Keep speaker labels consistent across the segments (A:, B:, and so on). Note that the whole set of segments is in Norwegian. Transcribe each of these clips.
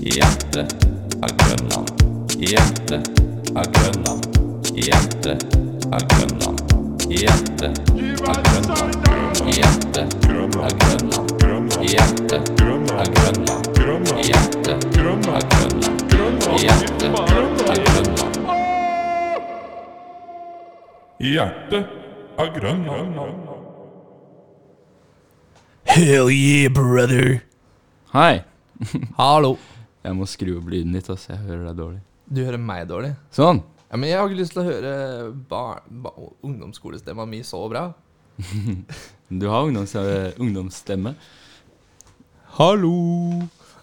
A: Hjertet er Grønland. Hjertet er Grønland. Hjertet er Grønland. Hjertet er Grønland. Hjertet er Grønland. Hjertet er Grønland. Hjertet er Grønland. Hjertet er Grønland.
B: Hjertet er Grønland.
C: Hell yeah, brother.
D: Hei.
C: Hallo.
D: Jeg må skru opp lyden litt, ass. Jeg hører deg dårlig.
C: Du hører meg dårlig?
D: Sånn.
C: Ja, men jeg har ikke lyst til å høre bar, ba, ungdomsskolestemma mi så bra.
D: Du har ungdoms, eh, ungdomsstemme. Hallo.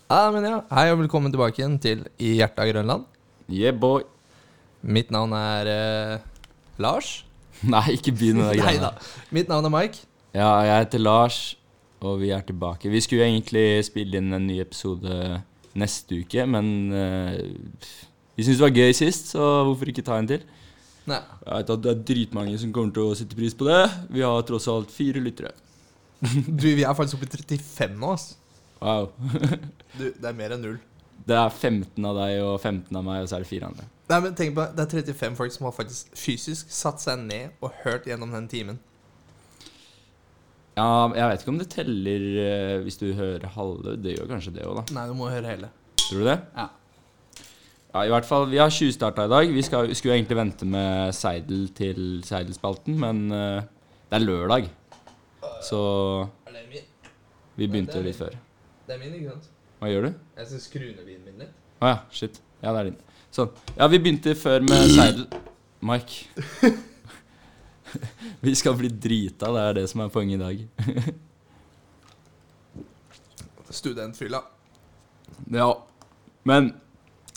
C: Ja, men ja. Hei og velkommen tilbake igjen til I hjertet av Grønland.
D: Yeah, boy.
C: Mitt navn er eh, Lars.
D: Nei, ikke begynn med det
C: Nei
D: greiene.
C: da. Mitt navn er Mike.
D: Ja, jeg heter Lars, og vi er tilbake. Vi skulle jo egentlig spille inn en ny episode neste uke, men eh, vi syntes det var gøy sist, så hvorfor ikke ta en til?
C: Nei.
D: Jeg vet at det er dritmange som kommer til å sette pris på det. Vi har tross alt fire lyttere.
C: Du, vi er faktisk oppe i 35 nå, ass.
D: Wow.
C: Du, det er mer enn null.
D: Det er 15 av deg og 15 av meg, og så er det fire andre.
C: Nei, men tenk på Det det er 35 folk som har faktisk fysisk satt seg ned og hørt gjennom den timen.
D: Ja, jeg vet ikke om det teller eh, hvis du hører halve. Det gjør kanskje det òg, da.
C: Nei, du må høre hele.
D: Tror du det?
C: Ja.
D: Ja, i hvert fall, Vi har tjuvstarta i dag. Vi skal, skulle egentlig vente med Seidel til Seidelspalten, men eh, det er lørdag. Så
C: Er det min?
D: vi begynte litt før.
C: Det er min, ikke sant?
D: Hhva gjør du?
C: Jeg skal skru ned bilen min litt.
D: Å ja, shit. Ja, det er din. Sånn. Ja, vi begynte før med Seidel Mike. vi skal bli drita, det er det som er poenget i dag.
C: Studentfylla.
D: Ja. Men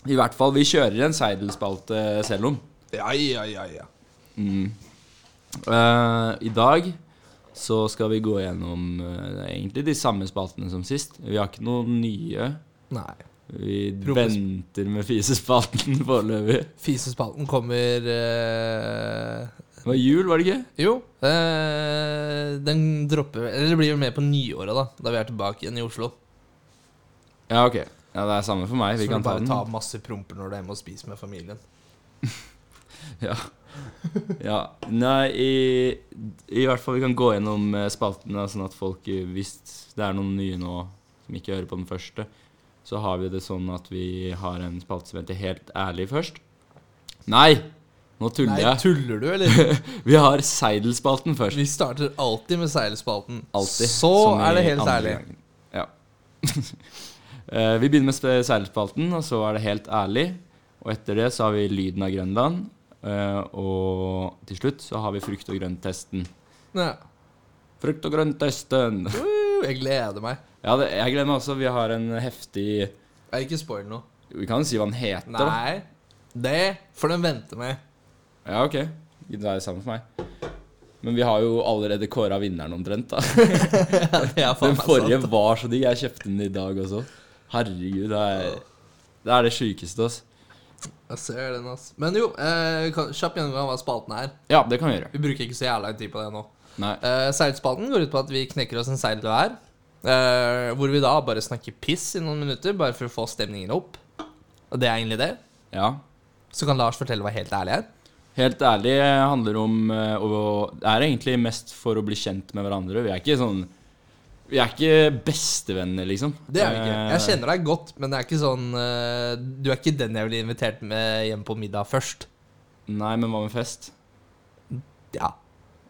D: i hvert fall, vi kjører en Seidel-spalte selv om.
C: Ja, ja, ja, ja.
D: Eh, I dag så skal vi gå gjennom eh, egentlig de samme spaltene som sist. Vi har ikke noen nye.
C: Nei.
D: Vi
C: Proffes-
D: venter med fisespalten foreløpig.
C: Fisespalten kommer eh,
D: Det var jul, var det ikke?
C: Jo, eh, den dropper Eller det blir vel med på nyåret, da. Da vi er tilbake igjen i Oslo.
D: Ja, ok. Ja, Det er samme for meg.
C: Så
D: Vi
C: får
D: kan
C: du
D: ta
C: bare
D: den.
C: ta masse promper når du er hjemme og spiser med familien.
D: Ja. ja. Nei, i, i hvert fall vi kan gå gjennom eh, spaltene, sånn at folk, eh, hvis det er noen nye nå som ikke hører på den første, så har vi det sånn at vi har en spalte som heter Helt ærlig først. Nei! Nå tuller
C: Nei,
D: jeg.
C: tuller du, eller?
D: Vi har Seidelspalten først.
C: Vi starter alltid med seilspalten.
D: Alltid.
C: Så
D: som
C: er det
D: i
C: helt
D: andre
C: ærlig.
D: gangen. Ja. Eh, vi begynner med spe- Seilspalten, og så er det Helt ærlig. Og etter det så har vi Lyden av Grønland. eh, og til slutt så har vi Frukt- og grønt-testen.
C: Ja.
D: Frukt- og grønt-testen!
C: Uh, jeg gleder meg.
D: Ja, det, jeg gleder meg også. Vi har en heftig
C: Jeg ikke spoil noe.
D: Vi kan jo si hva den heter, da.
C: Nei, det får den vente med.
D: Ja, ok. Det er det samme for meg. Men vi har jo allerede kåra vinneren omtrent, da.
C: Ja, det er faen
D: Den
C: meg
D: forrige
C: sant.
D: var så digg. Jeg kjøpte den i dag også. Herregud, det er det, er det sjukeste, ass.
C: Jeg ser den, ass. Men jo, eh, kan- kjapp gjennomgang av hva spalten er.
D: Ja, det kan vi gjøre.
C: Vi bruker ikke så jævla tid på det nå.
D: Nei.
C: Eh, seilspalten går ut på at vi knekker oss en seil hver. Eh, hvor vi da bare snakker piss i noen minutter, bare for å få stemningen opp. Og det er egentlig det.
D: Ja.
C: Så kan Lars fortelle hva helt ærlig er.
D: Helt ærlig handler om eh, å Det er egentlig mest for å bli kjent med hverandre. Vi er ikke sånn Vi er ikke bestevenner, liksom.
C: Det er vi ikke. Jeg
D: Eh,
C: kjenner deg godt, men det er ikke sånn eh, Du er ikke den jeg ville invitert med hjem på middag først.
D: Nei, men hva med fest?
C: Ja.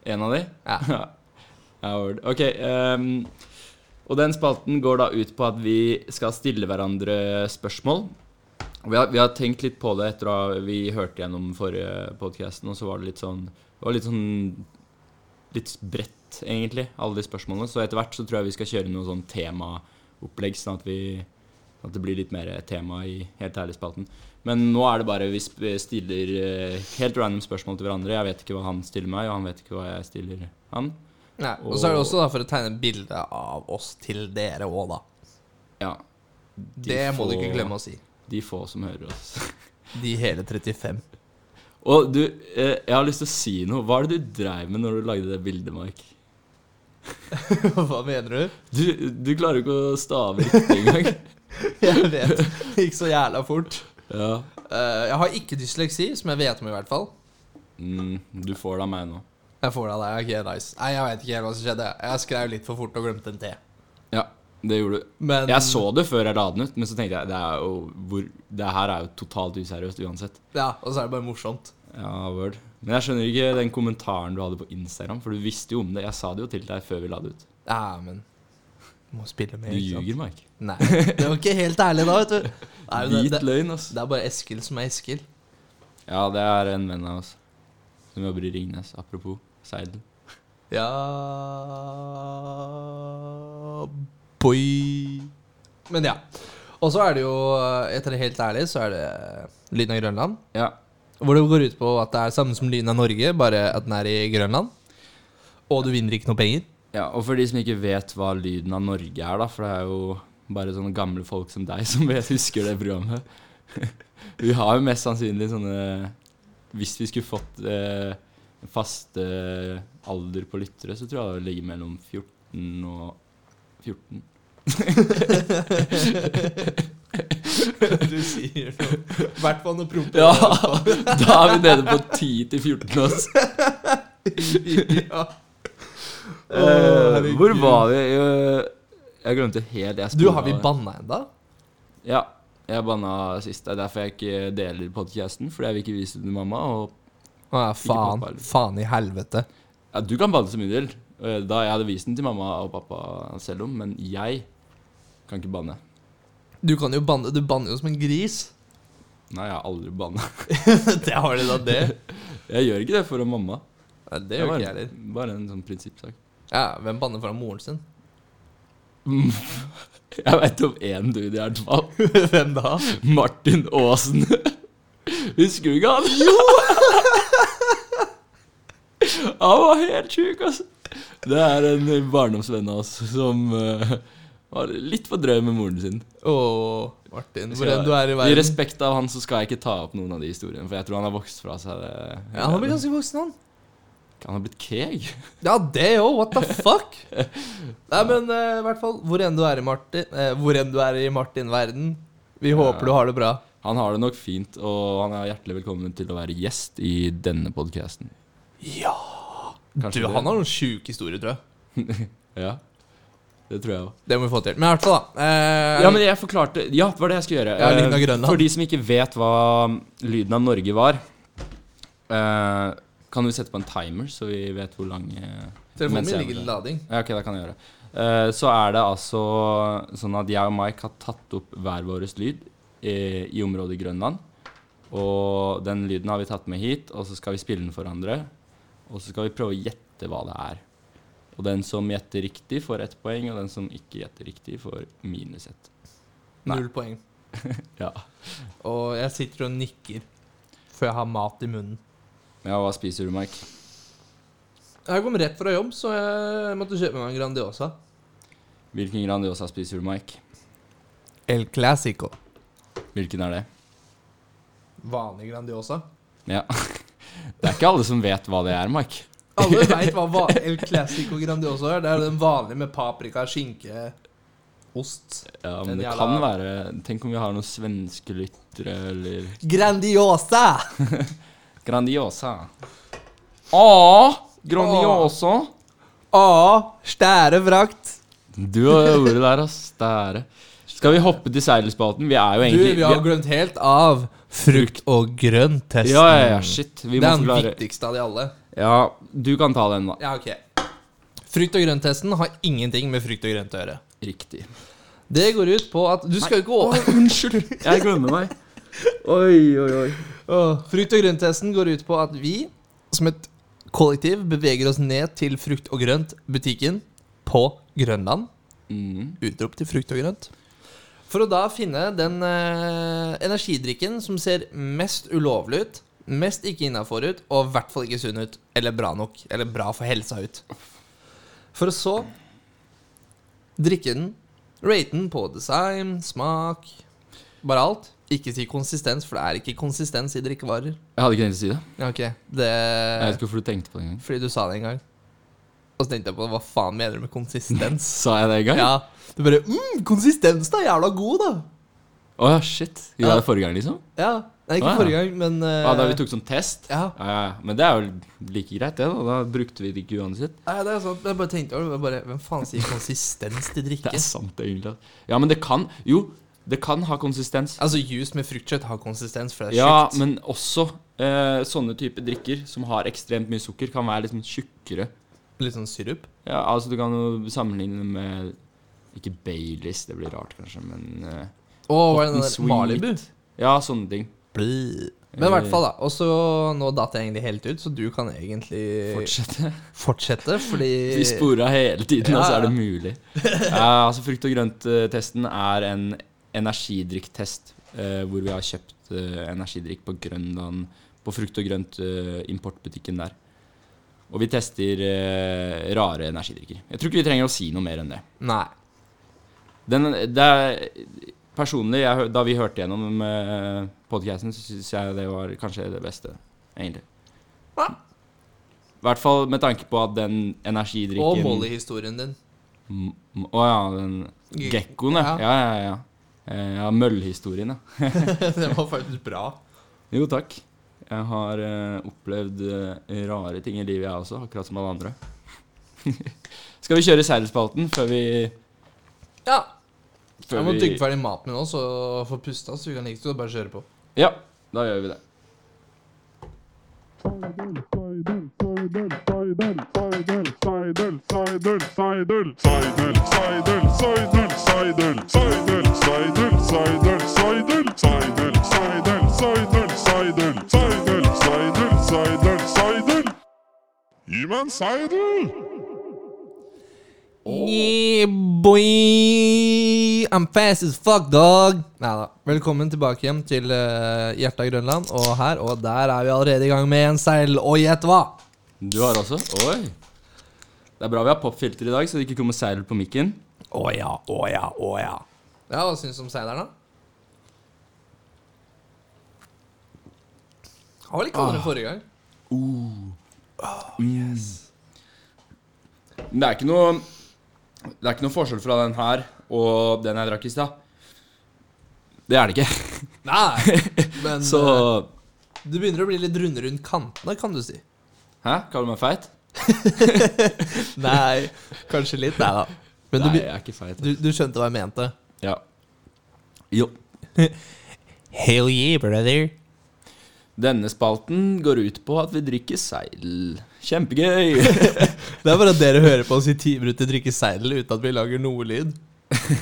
D: En av de?
C: Ja.
D: Ja, word. Ok. ehm, og den spalten går da ut på at vi skal stille hverandre spørsmål. Og Vi har, vi har tenkt litt på det etter at vi hørte gjennom forrige podkasten, og så var det litt sånn Det var litt sånn Litt bredt, egentlig, alle de spørsmålene. Så etter hvert så tror jeg vi skal kjøre noe sånn temaopplegg, sånn at vi at det blir litt mer tema i Helt ærlig-spalten. Men nå er det bare vi sp- stiller eh, helt random spørsmål til hverandre. Jeg vet ikke hva han stiller meg, og han vet ikke hva jeg stiller han.
C: Nei. Og så er det også da for å tegne et bilde av oss til dere òg, da.
D: Ja.
C: Det må du ikke glemme å si.
D: De få som hører oss.
C: De hele 35.
D: Og du, eh, jeg har lyst til å si noe. Hva er det du dreiv med når du lagde det bildet, Mark?
C: Hva mener du?
D: Du, du klarer jo ikke å stave riktig engang.
C: Jeg vet. Det gikk så jævla fort.
D: Ja.
C: Eh, jeg har ikke dysleksi, som jeg vet om i hvert fall.
D: Mm, du får det av meg nå.
C: Jeg får det av deg. Ok, nice. Nei, jeg vet ikke helt hva som skjedde. Jeg skrev litt for fort og glemte en T.
D: Ja, det gjorde du.
C: Men
D: Jeg så det før jeg la den ut, men så tenkte jeg det, er jo hvor, det her er jo totalt useriøst uansett.
C: Ja, og så er det bare morsomt.
D: Ja, word. Men jeg skjønner ikke den kommentaren du hadde på Instagram, for du visste jo om det. Jeg sa det jo til deg før vi la det ut.
C: Ja, men Må spille med.
D: Du
C: ikke sant?
D: ljuger, Mike.
C: Nei. Det var ikke helt ærlig da, vet du. Nei, men
D: Hvit
C: det, det,
D: løgn, ass.
C: det er bare Eskil som er Eskil.
D: Ja, det er en venn av oss som jobber i Ringnes. Apropos seidel.
C: Ja Boy. Men ja. Og så er det jo, eh, etter det helt ærlig, så er det Lyden av Grønland.
D: Ja.
C: Hvor det går ut på at det er samme som Lyden av Norge, bare at den er i Grønland. Og du vinner ikke noe penger.
D: ja. Og for de som ikke vet hva lyden av Norge er, da, for det er jo bare sånne gamle folk som deg som vet, husker det programmet. vi har jo mest sannsynlig sånne Hvis vi skulle fått eh, fast eh, alder på lyttere, så tror jeg det ligger mellom 14 og 14.
C: Du sier noe. I hvert fall noe prompt.
D: Ja, da er vi nede på 10 til altså. 14 ass.
C: ja.
D: Eh, hvor var vi? Eh, Jeg glemte helt jeg
C: Du,
D: sporet
C: har vi
D: av det.
C: banna enda?
D: Ja, jeg banna sist. Det er derfor jeg ikke deler podcasten, fordi jeg vil ikke vise det til mamma. Og
C: Å ja,
D: på
C: faen.
D: alvor.
C: Faen i helvete.
D: ja, du kan banne så mye du vil. Eh, Da jeg hadde vist den til mamma og pappa selv om, men jeg kan ikke banne.
C: Du kan jo banne. Du banner jo som en gris.
D: Nei, jeg har aldri banna.
C: det har de da, det.
D: Jeg gjør ikke det foran mamma.
C: Nei, det gjør
D: var
C: ikke jeg heller.
D: Bare en sånn prinsippsak.
C: Ja, hvem banner foran moren sin?
D: Jeg veit om én dude i hvert fall.
C: hvem da?
D: Martin Aasen. Husker du ikke han? Jo! han var helt sjuk, altså. Det er en barndomsvenn av oss som eh, var litt for drøy med moren sin.
C: Å, Martin. Hvor
D: Skal-
C: enn du er i
D: I
C: verden.
D: respekt av han så skal jeg ikke ta opp noen av de historiene, for jeg tror han har vokst fra seg det.
C: Ja, han blir ganske voksen, han.
D: Han har blitt keeg.
C: Ja, det òg. What the fuck? Nei, men eh, i hvert fall, hvor enn du er i Martin eh, Hvor enn du er i Martin-verden, vi håper du har det bra.
D: Han har det nok fint, og han er hjertelig velkommen til å være gjest i denne podkasten.
C: Ja. Du, han har noen sjuke historier, tror jeg.
D: Ja, det tror jeg òg.
C: Det må vi få til. Men i hvert fall, da. Eh,
D: Ja, men jeg forklarte Ja, det var det jeg skulle gjøre.
C: Ja, lyden av
D: Eh,
C: Grønland.
D: For de som ikke vet hva lyden av Norge var, eh, kan du sette på en timer, så vi vet hvor lang eh,
C: Telefonen
D: mens
C: min
D: jeg
C: ligger i
D: gjør det.
C: lading.
D: Ja, ok, det kan jeg gjøre. Eh, så er det altså sånn at jeg og Mike har tatt opp hver vår lyd i, i området Grønland. Og den lyden har vi tatt med hit, og så skal vi spille den for andre. Og så skal vi prøve å gjette hva det er. Og den som gjetter riktig, får ett poeng, og den som ikke gjetter riktig, får minus ett. Nei.
C: Null poeng.
D: Ja.
C: Og jeg sitter og nikker før jeg har mat i munnen.
D: Ja, hva spiser du, Mike?
C: Jeg kom rett fra jobb, så jeg måtte kjøpe meg en Grandiosa.
D: Hvilken Grandiosa spiser du, Mike?
C: El Clasico.
D: Hvilken er det?
C: Vanlig Grandiosa.
D: Ja. Det er ikke alle som vet hva det er, Mike.
C: Alle veit hva va- El Clasico Grandiosa er. Det er den vanlige med paprika, skinke, ost.
D: Ja,
C: Den
D: men det
C: jævla-
D: kan være Tenk om vi har noen svenske lyttere, eller
C: Grandiosa!
D: Grandiosa. Å, Grandiosa.
C: A. Stære frakt.
D: Du og det ordet der, ass. Det er det. Skal vi hoppe til seilspalten? Vi er jo
C: Du,
D: egentlig
C: vi har glemt helt av frukt- og grønt-testen.
D: Ja, ja, ja, shit.
C: Det
D: Vi må
C: er den
D: forklare
C: viktigste av de alle.
D: Ja, du kan ta den, da.
C: Ja, ok. Frukt- og grønt-testen har ingenting med frukt og grønt å gjøre.
D: Riktig.
C: Det går ut på at du skal jo ikke over...
D: unnskyld. Jeg glemmer meg. Oi, oi, oi.
C: Åh, Frukt- og grønt-testen går ut på at vi, som et kollektiv, beveger oss ned til frukt- og grønt-butikken på Grønland.
D: Mm.
C: Utrop til frukt og grønt. For å da finne den eh, energidrikken som ser mest ulovlig ut, mest ikke innafor ut, og i hvert fall ikke sunn ut, eller bra nok, eller bra for helsa ut. For å så drikke den, rate den på design, smak, bare alt. Ikke si konsistens, for det er ikke konsistens i drikkevarer.
D: Jeg hadde ikke tenkt å si det.
C: Ja, ok.
D: Jeg vet
C: Det
D: ikke hvorfor du tenkte på det engang.
C: Fordi du sa det en gang. Og så tenkte jeg på hva faen mener du med konsistens?
D: Sa jeg det en gang? Å ja.
C: Ja. Du bare mm, konsistensen er jævla god, da!
D: shit. Gjorde
C: Ja.
D: jeg det forrige gang, liksom?
C: Ja. Nei, ikke
D: Ah, ja.
C: forrige gang, men eh,
D: Ja, da vi tok sånn test?
C: Ja.
D: Ja, ja. Men det er jo like greit, det. Da Da brukte vi det ikke uansett.
C: Nei, det er sant. men Jeg bare tenkte over det. jeg Bare, hvem faen sier konsistens til drikke?
D: Det er sant, egentlig. Ja, men det kan Jo, det kan ha konsistens.
C: Altså, juice med fruktkjøtt har konsistens, for det er
D: Ja,
C: tjukt.
D: men også eh, sånne type drikker som har ekstremt mye sukker, kan være liksom tjukkere.
C: Litt sånn sirup.
D: Ja, altså Du kan jo sammenligne med Ikke Baileys, det blir rart kanskje, men eh,
C: Å, hva er
D: Cotton
C: det der?
D: sweet.
C: Malibu?
D: Ja, sånne ting.
C: Bli. Men i hvert fall, da. Og så nå datt jeg egentlig helt ut, så du kan egentlig
D: Fortsette.
C: fortsette, fordi
D: Vi spora hele tiden, og så
C: Eh, Ja.
D: er det mulig. Ja, altså Frukt og grønt-testen er en energidrikktest eh, hvor vi har kjøpt eh, energidrikk på Grønland, på frukt og grønt-importbutikken der. Og vi tester eh, rare energidrikker. Jeg tror ikke vi trenger å si noe mer enn det.
C: Nei.
D: Den, det er, personlig, jeg, hø- da vi hørte gjennom eh, podcasten, så syns jeg det var kanskje det beste, egentlig.
C: Ja.
D: I hvert fall med tanke på at den
C: Og
D: energidrikken
C: Molly-historien din.
D: M- m- Å ja, den
C: Ge-
D: gekkoen, ja.
C: ja.
D: Ja, ja, ja. Eh, Ja, møllhistorien, ja.
C: Den var faktisk bra.
D: Jo, takk. Jeg har eh, opplevd eh, rare ting i livet, jeg også, akkurat som alle andre. Skal vi kjøre seilspalten før vi
C: Ja.
D: før
C: Jeg må
D: vi-
C: tygge ferdig maten min nå, så få pusta, så vi kan like så godt bare kjøre på.
D: Ja, da gjør vi det.
B: Gi meg en seidel!
C: Yeah, boy! I'm fast as fuck, dog! Neida. Velkommen tilbake hjem til eh, hjertet av Grønland. Og her og der er vi allerede i gang med en seil. Og gjett hva?
D: Du har også? Oi. Det er bra vi har popfilter i dag, så det ikke kommer seil på mikken.
C: Å ja, å ja, å ja. Ja, Hva syns du om seileren, da? Han var litt kaldere enn forrige gang.
D: Men det er ikke noe Det er ikke noe forskjell fra den her og den jeg drakk i stad. Det er det ikke.
C: Nei, men
D: Så
C: eh, du begynner å bli litt rundere rundt kantene, kan du si.
D: Hæ? Kaller du meg feit?
C: Nei, kanskje litt. Nei da. Men du,
D: Nei,
C: be-
D: jeg er ikke feit.
C: du, du skjønte hva jeg mente?
D: Ja. Jo.
C: Hell yeah, brother.
D: Denne spalten går ut på at vi drikker seil. Kjempegøy!
C: Det er bare at dere hører på oss i ti minutter drikke seidel uten at vi lager noe lyd.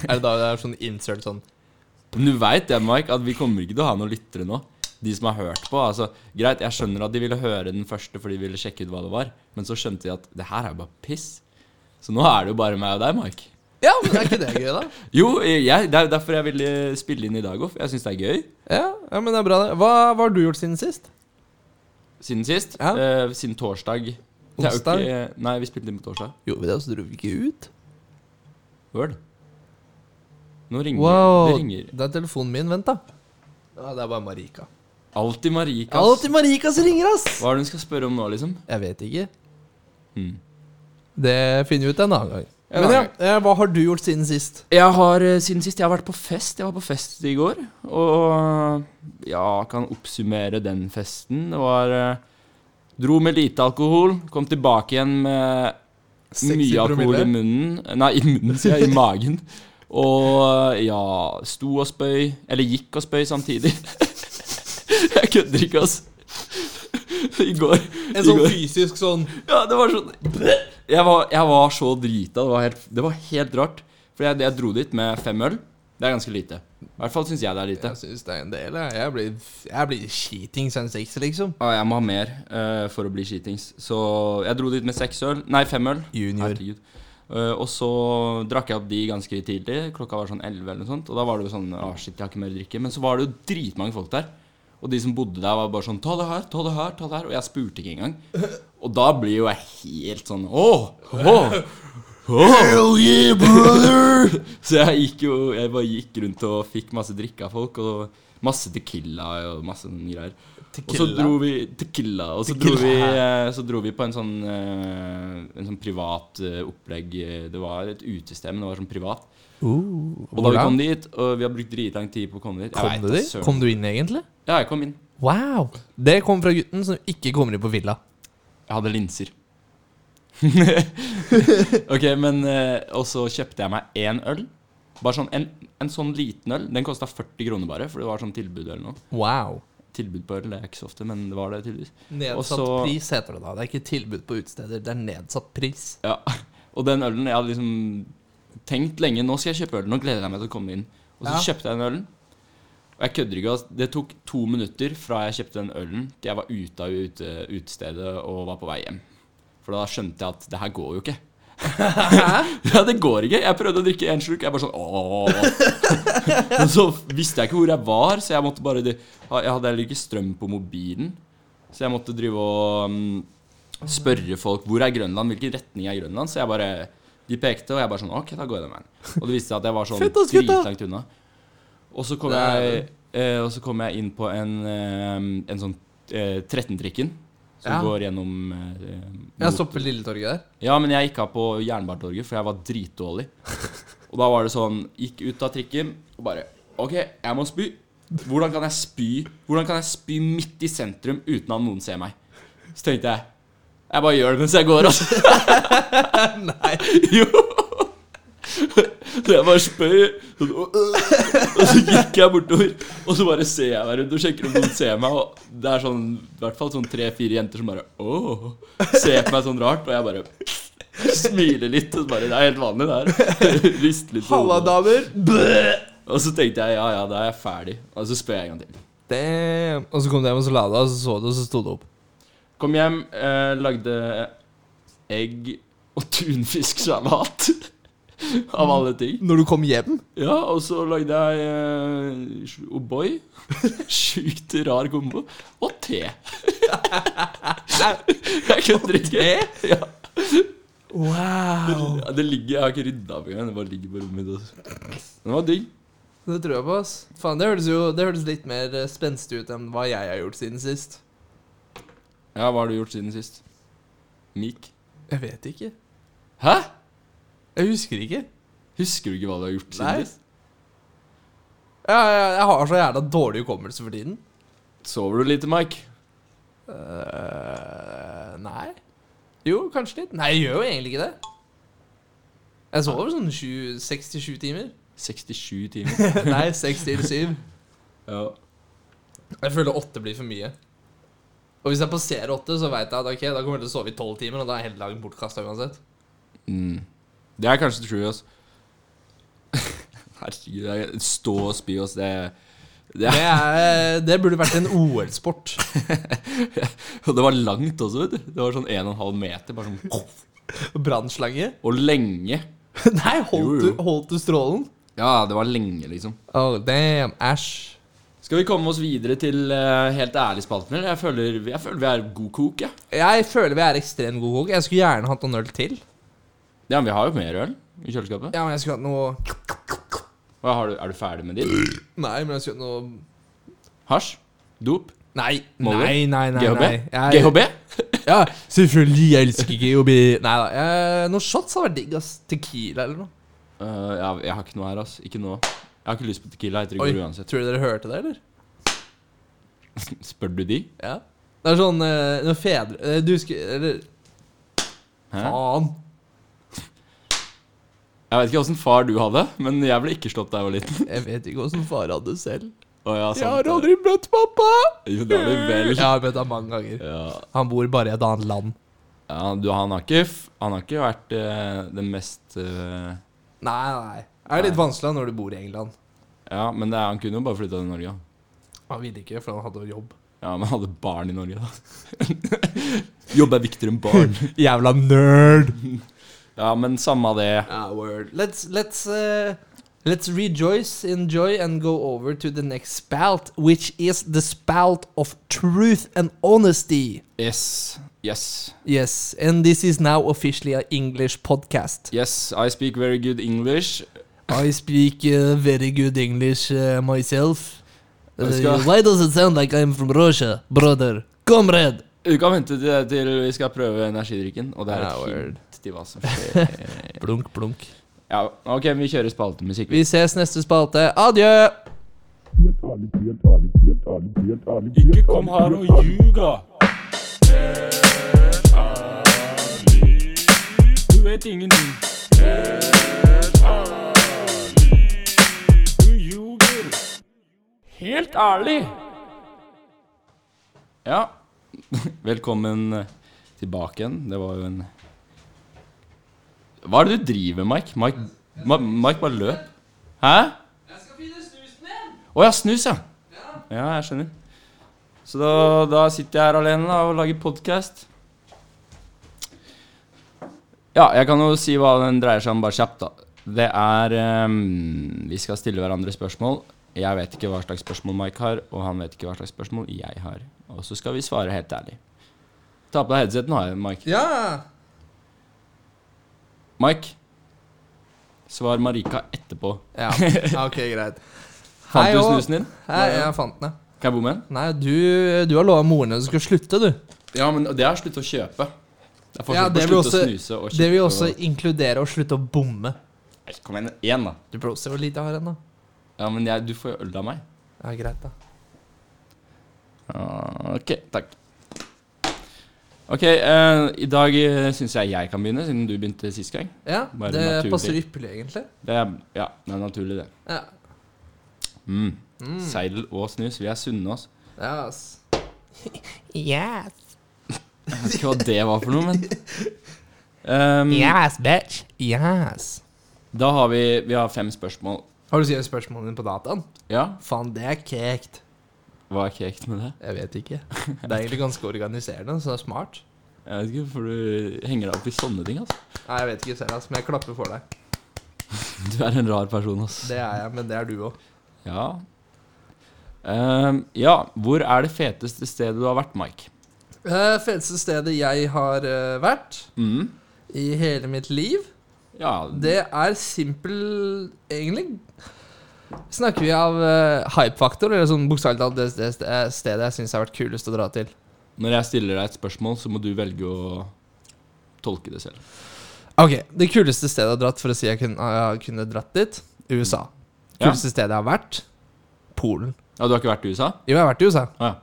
C: Er det da det er sånn insert sånn
D: Men du veit det, Mike, at vi kommer ikke til å ha noen lyttere nå. De som har hørt på. altså, Greit, jeg skjønner at de ville høre den første fordi de ville sjekke ut hva det var, men så skjønte de at det her er jo bare piss. Så nå er det jo bare meg og deg, Mike.
C: Ja, men er ikke det gøy, da?
D: Jo, jeg, det er jo derfor jeg ville spille inn i dag òg. Jeg syns det er gøy.
C: Ja, ja men det er bra, det. Hva, hva har du gjort siden sist?
D: Siden sist.
C: Ja.
D: eh, siden torsdag. Det er jo
C: Onsdag?
D: ikke- nei, vi spilte inn på torsdag.
C: Gjorde vi det, og så dro vi ikke ut?
D: Word. Nå ringer
C: Wow.
D: det.
C: Det
D: ringer.
C: er telefonen min. Vent, da. Ja, det er bare Marika.
D: Alltid Marika. ass.
C: Alltid Marika som ringer, ass!
D: Hva er det hun skal spørre om nå, liksom?
C: Jeg vet ikke.
D: Hmm.
C: Det finner vi ut en annen gang.
D: En
C: Men ja,
D: annen
C: eh, hva har du gjort siden sist?
D: Jeg har eh, siden sist jeg har vært på fest. Jeg var på fest i går. Og ja, kan oppsummere den festen. Det var eh, Dro med lite alkohol. Kom tilbake igjen med mye alkohol i munnen. Nei, i munnen, sier jeg. I magen. Og eh, ja, sto og spøy. Eller gikk og spøy samtidig. Jeg kødder ikke, ass. I går.
C: En
D: i
C: sånn
D: går.
C: fysisk sånn
D: Ja, det var sånn Jeg var, jeg var så drita. Det var helt, det var helt rart. For jeg, jeg dro dit med fem øl. Det er ganske lite. I hvert fall syns jeg det er lite.
C: Jeg syns det er en del. Jeg, jeg blir, jeg blir cheating siden seks, liksom.
D: Ja, Ah, jeg må ha mer eh, for å bli skitings. Så jeg dro dit med seks øl Nei, fem øl.
C: Junior.
D: Herregud. Eh, og så drakk jeg opp de ganske tidlig. Klokka var sånn 11 eller noe sånt. Og da var det jo sånn ah, shit, jeg har ikke mer drikke. Men så var det jo dritmange folk der. Og de som bodde der, var bare sånn Ta det her, ta det her, ta det her. Og jeg spurte ikke engang. Og da blir jo jeg helt sånn Åh! åh, Hell yeah, brother! så jeg gikk jo Jeg bare gikk rundt og fikk masse drikke av folk, og masse tequila og masse sånne greier. Og så
C: Tequila?
D: dro vi Tequila. Og så dro vi, eh, så dro vi på en sånn, eh, en sånn privat eh, opplegg. Det var et utested, men det var sånn privat.
C: Uh,
D: og da vi kom dit, og vi har brukt dritlang tid på å komme dit
C: Kom
D: Jeg vet
C: du
D: da
C: dit?
D: søren.
C: Kom du inn, egentlig?
D: Ja, jeg kom inn.
C: Wow! Det kom fra gutten som ikke kommer inn på villa.
D: Jeg hadde linser. ok, men eh, Og så kjøpte jeg meg én øl. Bare sånn, en, en sånn liten øl. Den kosta 40 kroner bare, for det var sånn tilbud eller noe.
C: Wow.
D: Tilbud på øl det er ikke så ofte, men det var det tydeligvis.
C: Nedsatt
D: Også-
C: pris heter det da. Det er ikke tilbud på utesteder, det er nedsatt pris.
D: Ja. Og den ølen Jeg hadde liksom tenkt lenge Nå skal jeg kjøpe øl. Nå gleder jeg meg til å komme inn. Og så
C: Ja.
D: kjøpte jeg den ølen. Og jeg kødder ikke. ass. Det tok to minutter fra jeg kjøpte den ølen til jeg var ute av ute, utestedet og var på vei hjem. For da skjønte jeg at det her går jo ikke. ja, det går ikke. Jeg prøvde å drikke én slurk. Jeg bare sånn ååå. Men så visste jeg ikke hvor jeg var, så jeg måtte bare Jeg hadde heller ikke strøm på mobilen, så jeg måtte drive og mm, spørre folk hvor er Grønland, hvilken retning er Grønland. Så jeg bare De pekte, og jeg bare sånn OK, da går jeg den veien. Og det viste seg at jeg var sånn
C: Fett, ass, gutta!
D: dritlangt unna. Og så kom jeg eh, Og så kom jeg inn på en, eh, en sånn eh, 13-trikken som
C: Ja.
D: går gjennom eh,
C: Jeg stopper ved Lilletorget der.
D: ja, men jeg gikk av på Jernbanetorget, for jeg var dritdårlig. Og da var det sånn Gikk ut av trikken og bare OK, jeg må spy. Hvordan kan jeg spy Hvordan kan jeg spy midt i sentrum uten at noen ser meg? Så tenkte jeg Jeg bare gjør det mens jeg går, altså.
C: Nei.
D: Jo. Så jeg bare spøy, sånn, «Åh, øh». og så gikk jeg bortover. Og så bare ser jeg meg rundt og sjekker om noen ser meg. Og det er sånn, i hvert fall sånn tre-fire jenter som bare åh, ser på meg sånn rart. Og jeg bare smiler litt. Og så bare, Det er helt vanlig, det her. Rister litt på
C: Halla,
D: hodet.
C: damer!
D: Og så tenkte jeg ja, ja, da er jeg ferdig. Og så spør jeg en gang til.
C: Damn. Og så kom du hjem og så la deg, og så så du, og så sto du opp.
D: Kom hjem, eh, lagde egg og tunfisksalat. Av alle ting.
C: Når du kom hjem?
D: Ja, og så lagde jeg eh, sj- O'boy. Sjukt rar kombo. Og te. jeg kødder ikke. Ja.
C: Wow.
D: Ja, det ligger, jeg har ikke rydda opp engang. Det bare ligger på rommet mitt. altså. Den var digg.
C: Det tror jeg på, ass. Faen, det hørtes jo det hørtes litt mer eh, spenstig ut enn hva jeg har gjort siden sist.
D: Ja, hva har du gjort siden sist? Mik?
C: Jeg vet ikke.
D: Hæ?
C: Jeg husker ikke.
D: Husker du ikke hva du har gjort siden
C: Nei.
D: sist?
C: Ja, ja, jeg har så jævla dårlig hukommelse for tiden.
D: Sover du lite, Mike?
C: Eh, nei. Jo, kanskje litt. Nei, jeg gjør jo egentlig ikke det. Jeg sover sånn sju- seks til sju timer.
D: 67 timer.
C: Nei, seks til syv.
D: ja.
C: Jeg føler åtte blir for mye. Og hvis jeg passerer åtte, så veit jeg at ok, da kommer jeg til å sove i tolv timer, og da er hele dagen bortkasta uansett.
D: Mm. Det er kanskje true, altså. Herregud, jeg- stå og spy, altså. Det, det
C: Det, er, det burde vært en OL-sport.
D: Og det var langt også, vet du. Det var sånn 1,5 meter. Bare sånn,
C: Brannslange.
D: og lenge.
C: Nei, holdt
D: Jo, jo.
C: du, holdt du strålen?
D: Ja, det var lenge, liksom.
C: Oh, damn. Æsj.
D: Skal vi komme oss videre til eh, Helt ærlig-spalten, eller? Jeg føler, jeg føler vi er god kok, jeg. Ja.
C: Jeg føler vi er ekstremt gode kokk. Jeg skulle gjerne hatt noen øl til.
D: ja, men vi har jo mer øl i kjøleskapet.
C: Ja, men jeg skulle hatt noe
D: Hva har du, er du ferdig med ditt?
C: Nei, men jeg skulle hatt noe
D: Hasj? Dop?
C: Nei,
D: Molly?
C: nei, nei. nei,
D: GHB?
C: nei. Jeg-
D: GHB?
C: Ja, selvfølgelig jeg elsker GHB. Nei da. eh, Noen shots hadde vært digg. ass Tequila eller noe.
D: Eh, ja, jeg har ikke noe her, altså. Ikke nå. Jeg har ikke lyst på Tequila.
C: Oi,
D: Jeg drikker uansett.
C: Tror du dere hørte det, eller?
D: Spør du de?
C: Ja. Det er sånn eh, når fedre eh, Du husker Eller
D: Hæ?
C: faen.
D: Jeg vet ikke åssen far du hadde, men jeg ble ikke slått da jeg var liten.
C: Jeg vet ikke åssen far hadde selv.
D: Å, ja, sant
C: Jeg har
D: det.
C: aldri møtt pappa!
D: Jo, det har du vel.
C: Jeg har møtt ham mange ganger.
D: Ja.
C: Han bor bare i et annet land.
D: Ja, du, han, har ikke, f- han har ikke vært eh, den mest eh,
C: Nei, nei. Det er litt vanskelig når du bor i England.
D: Ja, men det er, han kunne jo bare flytta til Norge. han.
C: Han ville ikke, for han hadde jo jobb.
D: Ja, men han hadde barn i Norge, da. Jobb er viktigere enn barn.
C: Jævla nerd!
D: Ja, men samme av det.
C: Ah, word. Let's, let's eh, Let's rejoice, enjoy, and go over to the next spout, which is the spout of truth and honesty.
D: Yes. Yes.
C: Yes, and this is now officially an English podcast.
D: Yes, I speak very good English.
C: I speak uh, very good English uh, myself.
D: Let's go.
C: Uh, why does it sound like I'm from Russia, brother? Comrade!
D: Du kan vente til, til vi skal prøve energidrikken, og det er et
C: Ja, word.
D: hint til hva som skjer.
C: Blunk, blunk.
D: ja, ok, vi kjører spaltemusikk.
C: Vi ses neste spalte. Adjø!
B: Ikke kom her og ljug, da! Du vet ingenting. Du ljuger. Helt ærlig.
D: Ja, velkommen tilbake igjen. Det var jo en Hva er det du driver med, Mike? Mike, Ma Mike bare løp. Hæ? Å ja, snus, ja. Ja, jeg skjønner. Så da, da sitter jeg her alene da, og lager podkast. Ja, jeg kan jo si hva den dreier seg om, bare kjapt, da. Det er ehm, Vi skal stille hverandre spørsmål. Jeg vet ikke hva slags spørsmål Mike har, og han vet ikke hva slags spørsmål jeg har. Og så skal vi svare helt ærlig. Ta på deg headsetet nå, Mike.
C: Ja!
D: Mike, svar Marika etterpå.
C: Ja, ok, greit.
D: Fant
C: Hei,
D: du
C: og-
D: snusen din?
C: Hei, jeg fant den. ja.
D: Kan jeg bo med den?
C: Nei, du, du har lova moren din at du skulle slutte, du.
D: Ja, men det er slutt å kjøpe. Det er forskjell
C: Ja,
D: på
C: det vil
D: slutt å
C: også-
D: snuse og kjøpe.
C: Det vil også
D: og...
C: inkludere å slutte å bomme.
D: Nei, Kom igjen, én, da.
C: Du bro, se hvor lite jeg har igjen, da.
D: Ja, men jeg, du får jo øl av meg.
C: Ja, greit, da.
D: Ah, Ok, takk. Ok, eh, i dag uh, syns jeg jeg kan begynne, siden du begynte sist gang.
C: Ja,
D: Bare
C: det
D: naturlig.
C: passer ypperlig, egentlig.
D: Det er, ja, det er naturlig, det.
C: Ja,
D: Mm. Seidel og snus, vi er sunne, altså.
C: ja ass.
E: Yes.
D: Jeg vet ikke hva det var for noe, men Ehm,
E: Yes, bitch. Yes.
D: Da har vi, vi har fem spørsmål.
C: Har du skrevet spørsmålene dine på dataen?
D: Ja,
C: Faen, det er kekt.
D: hva er kjekt med det?
C: Jeg vet ikke. Det er egentlig ganske organiserende, så det er smart.
D: Jeg vet ikke hvorfor du henger deg opp i sånne ting, altså.
C: Nei, jeg vet ikke selv, ass, men jeg klapper for deg.
D: Du er en rar person, altså.
C: Det er jeg, men det er du òg.
D: Ja. Ehm, ja, hvor er det feteste stedet du har vært, Mike?
C: Eh, feteste stedet jeg har eh, vært
D: Mm.
C: i hele mitt liv,
D: Ja,
C: det er simpel Egentlig snakker vi av eh, hype-faktor, eller sånn bokstavelig talt det, det det stedet jeg syns har vært kulest å dra til.
D: Når jeg stiller deg et spørsmål, så må du velge å tolke det selv.
C: Ok, Det kuleste stedet jeg har dratt for å si jeg kunne, jeg kunne dratt dit USA.
D: Ja.
C: Kuleste stedet jeg har vært Polen.
D: Ja, Du har ikke vært i USA?
C: Jo, jeg har vært i USA.
D: Å ja.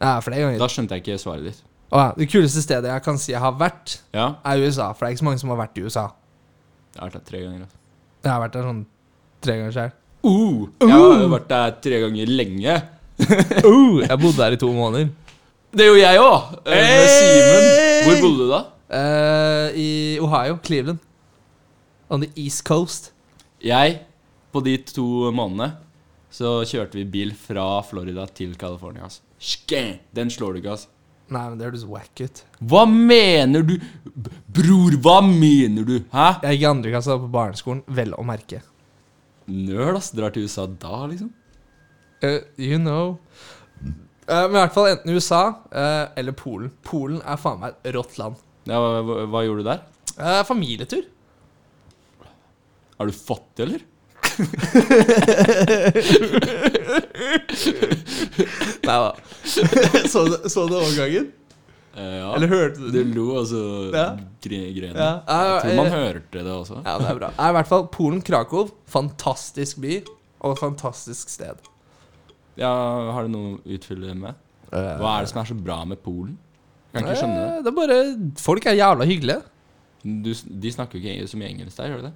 C: Ja, flere ganger.
D: Da skjønte jeg ikke svaret ditt.
C: Å ja, det kuleste stedet jeg kan si jeg har vært,
D: Ja,
C: er USA. For det er ikke så mange som har vært i USA.
D: Jeg har vært der tre ganger. altså.
C: Jeg har vært der sånn tre ganger sjøl.
D: Uh, jeg har vært der tre ganger lenge.
C: Uh, jeg bodde der i to måneder.
D: Det gjorde jeg òg! Med Simen. Hvor bodde du da?
C: Eh, I Ohio. Cleveland. On the East Coast.
D: Jeg, på de to månedene, så kjørte vi bil fra Florida til California. Altså. Skæ! Den slår du ikke, altså.
C: Nei, men det høres wack ut.
D: Hva mener du? B- Bror, hva mener du? Hæ?
C: Jeg gikk i andre klasse på barneskolen, vel å merke.
D: Nøl, ass. Drar til USA da, liksom.
C: Eh, you know. Eh, men i hvert fall enten USA eh, eller Polen. Polen er faen meg et rått land.
D: Ja, hva, hva, hva gjorde du der?
C: Eh, familietur.
D: Er du fattig, eller?
C: Nei da. så, du- så du overgangen?
D: Eh, ja.
C: Eller hørte du
D: Du
C: den?
D: lo, og så
C: Ja.
D: gre grener.
C: Ja.
D: Jeg tror man
C: Eh,
D: hørte det også.
C: Ja, det er bra. Nei, I hvert fall Polen-Krakow. Fantastisk by og fantastisk sted.
D: Ja, Har du noe å utfylle med? Hva er det som er så bra med Polen? Eh, Jeg kan ikke skjønne det.
C: Eh, det er bare Folk er jævla hyggelige. Eh.
D: Du, s- de snakker jo ikke så mye engelsk der, gjør de det?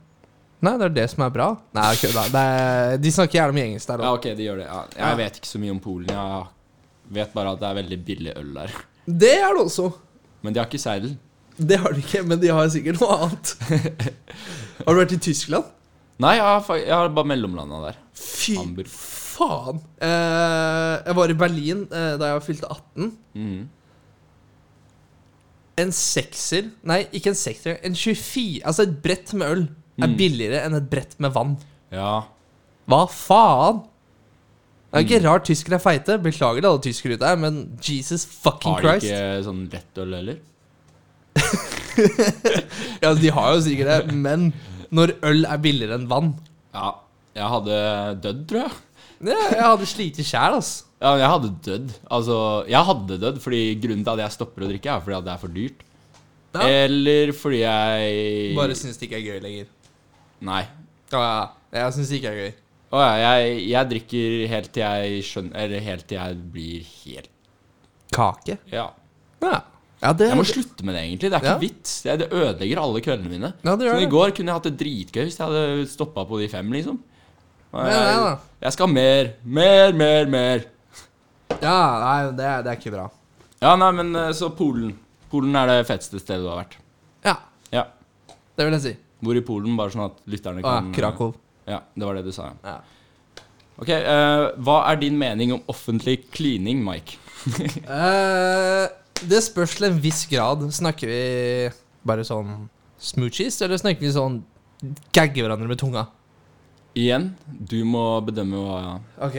C: Nei, det er det som er bra. Nei, jeg kødda. Det er- De snakker gjerne om engelsk der
D: Ja,
C: òg.
D: ok, de gjør det. Ja. Jeg vet ikke så mye om Polen. Jeg vet bare at det er veldig billig øl der.
C: Det er det også.
D: Men de har ikke seidel.
C: Det har de ikke, men de har sikkert noe annet. Har du vært i Tyskland?
D: Nei, jeg har, fa- jeg har bare mellomlanda der.
C: Fy
D: Hamburg.
C: faen. Eh, jeg var i Berlin eh, da jeg fylte 18.
D: Mhm.
C: En sekser Nei, ikke en
D: Mm.
C: sekser. En 24 Altså, et brett med øl er billigere enn et brett med vann.
D: Ja,
C: Hva faen? Det er ikke
D: Mm.
C: rart tyskere er feite. Beklager til alle tyskere ute her, men Jesus fucking
D: Har de
C: Christ.
D: ikke sånn lettøl heller?
C: Ja, de har jo sikkert det, men når øl er billigere enn vann
D: Ja. Jeg hadde dødd, tror jeg.
C: ja, Jeg hadde slitt sjæl, ass.
D: Ja, jeg hadde dødd. Altså, jeg hadde dødd fordi grunnen til at jeg stopper å drikke, er fordi at det er for dyrt.
C: Ja.
D: Eller fordi jeg
C: Bare syns det ikke er gøy lenger.
D: Nei.
C: Ja, ja. Jeg syns det ikke er gøy.
D: Å ja, jeg, jeg drikker helt til jeg skjønner Eller helt til jeg blir helt
C: Kake?
D: Ja.
C: Ja. ja det,
D: Jeg må slutte med det, egentlig. Det er ikke
C: Ja.
D: vits. Det, det ødelegger alle kveldene mine.
C: Ja, det gjør
D: Så i
C: det.
D: går kunne jeg hatt det dritgøy hvis jeg hadde stoppa på de fem, liksom. Og
C: Nei,
D: jeg,
C: nei, da.
D: jeg skal ha mer. Mer, mer, mer.
C: ja, nei, det, er- det er ikke bra.
D: Ja, nei, men eh, så Polen. Polen er det feteste stedet du har vært.
C: Ja,
D: Ja.
C: det vil jeg si.
D: Hvor i Polen, bare sånn at lytterne
C: Å, ja,
D: kan
C: Ah, Krakow.
D: Ja, det var det du sa.
C: Ja.
D: Ok, eh, Hva er din mening om offentlig klining, Mike?
C: Eh, det spørs til en viss grad. Snakker vi bare sånn smoochies, eller snakker vi sånn gagge hverandre med tunga?
D: Igjen, du må bedømme hva
C: Ok.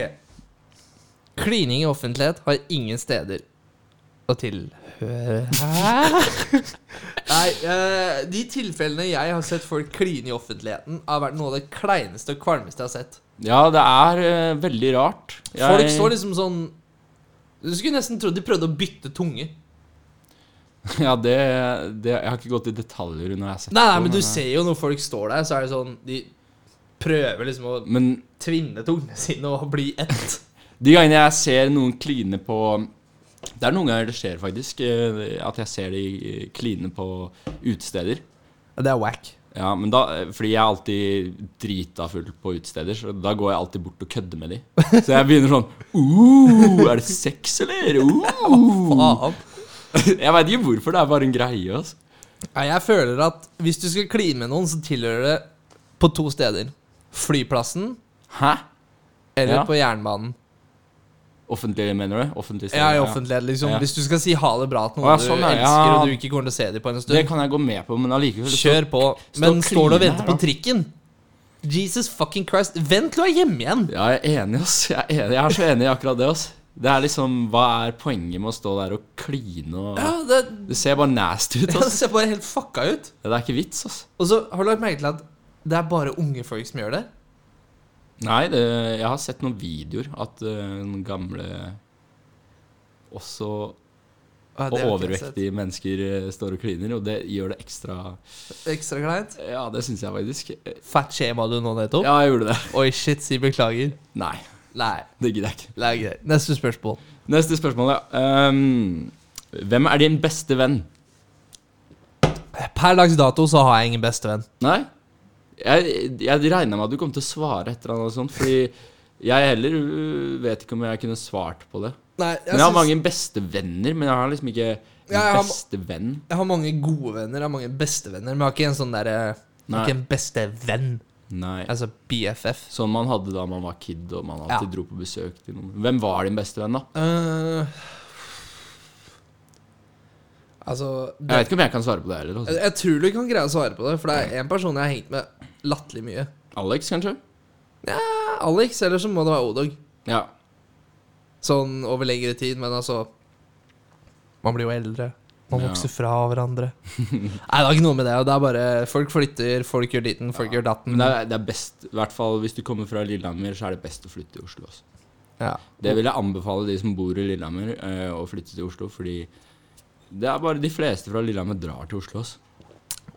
C: Klining i offentlighet har ingen steder å tilhøre Hæ? Nei, eh, de tilfellene jeg har sett folk kline i offentligheten, har vært noe av det kleineste og kvalmeste jeg har sett.
D: Ja, det er eh, veldig rart.
C: Folk står liksom sånn Du skulle nesten trodd de prøvde å bytte tunge. Nei,
D: Ja, det, det Jeg har ikke gått i detaljer når jeg har sett
C: nei,
D: på,
C: men du ser jo når folk står der, så er det sånn De prøver liksom å
D: eh, Men
C: tvinne tungene sine og bli ett.
D: de gangene jeg ser noen kline på Det er noen ganger det skjer, faktisk, eh, at jeg ser de eh, kline på utesteder.
C: Det er wack.
D: Ja, men da, eh, fordi jeg er alltid drita full på utesteder, så da går jeg alltid bort og kødder med de. Så jeg begynner sånn uh, Er det sex, eller? Uh.
C: Faen.
D: Jeg veit ikke hvorfor, det er bare en greie. Altså.
C: Ja, jeg føler at hvis du skal kline med noen, så tilhører det på to steder. Flyplassen
D: Hæ?
C: eller
D: Ja.
C: på jernbanen.
D: Offentlig, mener du? Offentlig
C: Ja, i offentlighet, liksom.
D: Ja.
C: Hvis du skal si ha det bra til noen
D: Å, ja,
C: du
D: sånn, ja.
C: elsker,
D: Ja.
C: og du ikke kommer til å se dem på en
D: Det
C: stund,
D: kan jeg gå med på, men allikevel så-
C: kjør på. Men
D: og
C: står du og
D: kline
C: venter
D: her,
C: på
D: da.
C: trikken? Jesus fucking Christ. Vent til du er hjemme igjen!
D: Ja, jeg er enig, ass. Jeg er, enig. jeg er så enig i akkurat det, ass. Det er liksom Hva er poenget med å stå der og kline og
C: Ja, det,
D: Det ser bare nasty ut,
C: det
D: ass.
C: ser bare helt fucka ut.
D: Det er ikke vits, ass.
C: Og så har du lagt merke til at det er bare unge folk som gjør det.
D: Nei, det, jeg har sett noen videoer at eh, den gamle også
C: Ja, det har ikke
D: og
C: jeg sett.
D: overvektige mennesker eh, står og kliner, og det gjør det ekstra eh,
C: Ekstra kleint.
D: Ja, det syns jeg faktisk. Eh,
C: Fettskjema du nå nettopp?
D: Ja, jeg gjorde det.
C: Oi, shit, si beklager.
D: Nei,
C: Nei,
D: det gidder jeg ikke.
C: det er greit. Neste spørsmål.
D: Neste spørsmål, ja. Ehm, hvem er din beste venn?
C: Per dags dato så har jeg ingen bestevenn.
D: Nei? Jeg, jeg regna med at du kom til å svare et eller annet sånt, fordi jeg heller øh, vet ikke om jeg kunne svart på det.
C: Nei,
D: Men jeg har mange bestevenner, men jeg har liksom ikke en
C: Ja, jeg har-
D: bestevenn.
C: jeg har mange gode venner, jeg har mange bestevenner, men jeg har ikke en sånn derre
D: Nei.
C: Ikke en bestevenn.
D: Nei.
C: Altså BFF.
D: Sånn man hadde da man var kid og man
C: Ja.
D: alltid dro på besøk til noen. Hvem var din beste venn, da?
C: Eh, altså det,
D: Jeg vet ikke om jeg kan svare på det heller.
C: jeg,
D: Altså.
C: jeg tror du kan greie å svare på det, for det er en person jeg har hengt med latterlig mye.
D: Alex, kanskje?
C: Ja, Alex, eller så må det være Odog.
D: Ja.
C: Sånn over lengre tid, men altså Man blir jo eldre. Man
D: Ja.
C: vokser fra hverandre. Nei, det har ikke noe med det. og Det er bare Folk flytter, folk gjør ditten, folk gjør datten.
D: Men det er, det er best, i hvert fall hvis du kommer fra Lillehammer, så er det best å flytte til Oslo. Altså.
C: Ja.
D: Det vil jeg anbefale de som bor i Lillehammer, eh, å flytte til Oslo, fordi det er bare de fleste fra Lillehammer drar til Oslo. Altså.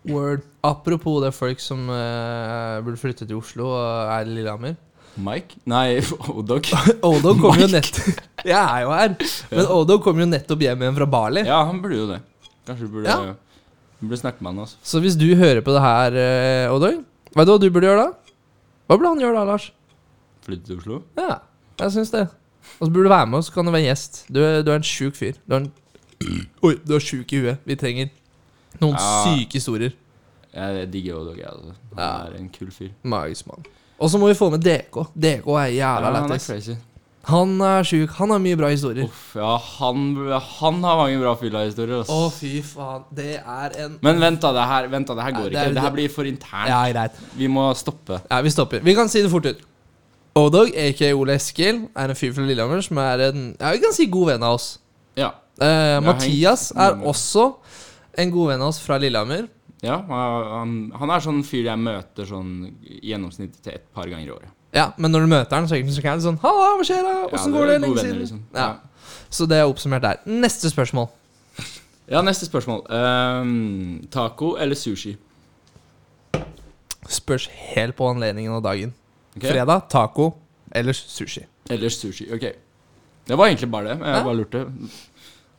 C: Word. Apropos det folk som eh, burde flytte til Oslo og er i Lillehammer.
D: Mike? Nei, Odog.
C: Odo kom jo nett Jeg er jo her. Men Odo kom jo nettopp hjem igjen fra Bali.
D: Ja, han burde jo det. Kanskje du burde,
C: Ja.
D: du burde snakke med han, altså.
C: Så hvis du hører på det her, uh, Odo, vet du hva du burde gjøre da? Hva burde han gjøre da, Lars?
D: Flytte til Oslo.
C: Ja, jeg syns det. Og så burde du være med, og så kan du være gjest. Du, er- du er en sjuk fyr. Du er en Oi, du er sjuk i huet. Vi trenger noen
D: Ja.
C: syke historier.
D: Jeg, jeg digger Odog, jeg, altså. Han
C: Ja.
D: er en kul fyr.
C: Magisk mann. Og så må vi få med DK. DK er
D: Ja,
C: jævla
D: han er
C: lættis.
D: crazy.
C: Han er sjuk. Han har mye bra historier. Å,
D: Uff, ja, han, han har mange bra fylla-historier, ass.
C: fy faen. Det er en
D: Men vent, da. Det her, vent da, det her går
C: Nei, det
D: ikke.
C: er-
D: Det her blir for internt.
C: Ja, greit.
D: Vi må stoppe.
C: Ja, Vi stopper. Vi kan si det fort ut. Odog, aka Ole Eskil, er en fyr fra Lillehammer som er en ja, vi kan si god venn av oss.
D: Ja.
C: Eh,
D: hengt
C: Mathias er
D: mange-
C: også en god venn av oss fra Lillehammer.
D: ja han, han er sånn fyr jeg møter sånn i gjennomsnitt til et par ganger i året.
C: Ja, Men når du møter han, så egentlig så kan han sånn Halla, hva skjer da?
D: Ja,
C: Åssen
D: dere
C: går det?
D: er gode
C: Lenge
D: venner,
C: siden.
D: liksom.
C: Ja. Så det er oppsummert der. Neste spørsmål.
D: Ja, neste spørsmål. Ehm, taco eller sushi?
C: Spørs helt på anledningen og dagen.
D: Ok?
C: Fredag taco eller sushi.
D: Eller sushi. Ok. Det var egentlig bare det. Jeg
C: Ja.
D: bare lurte.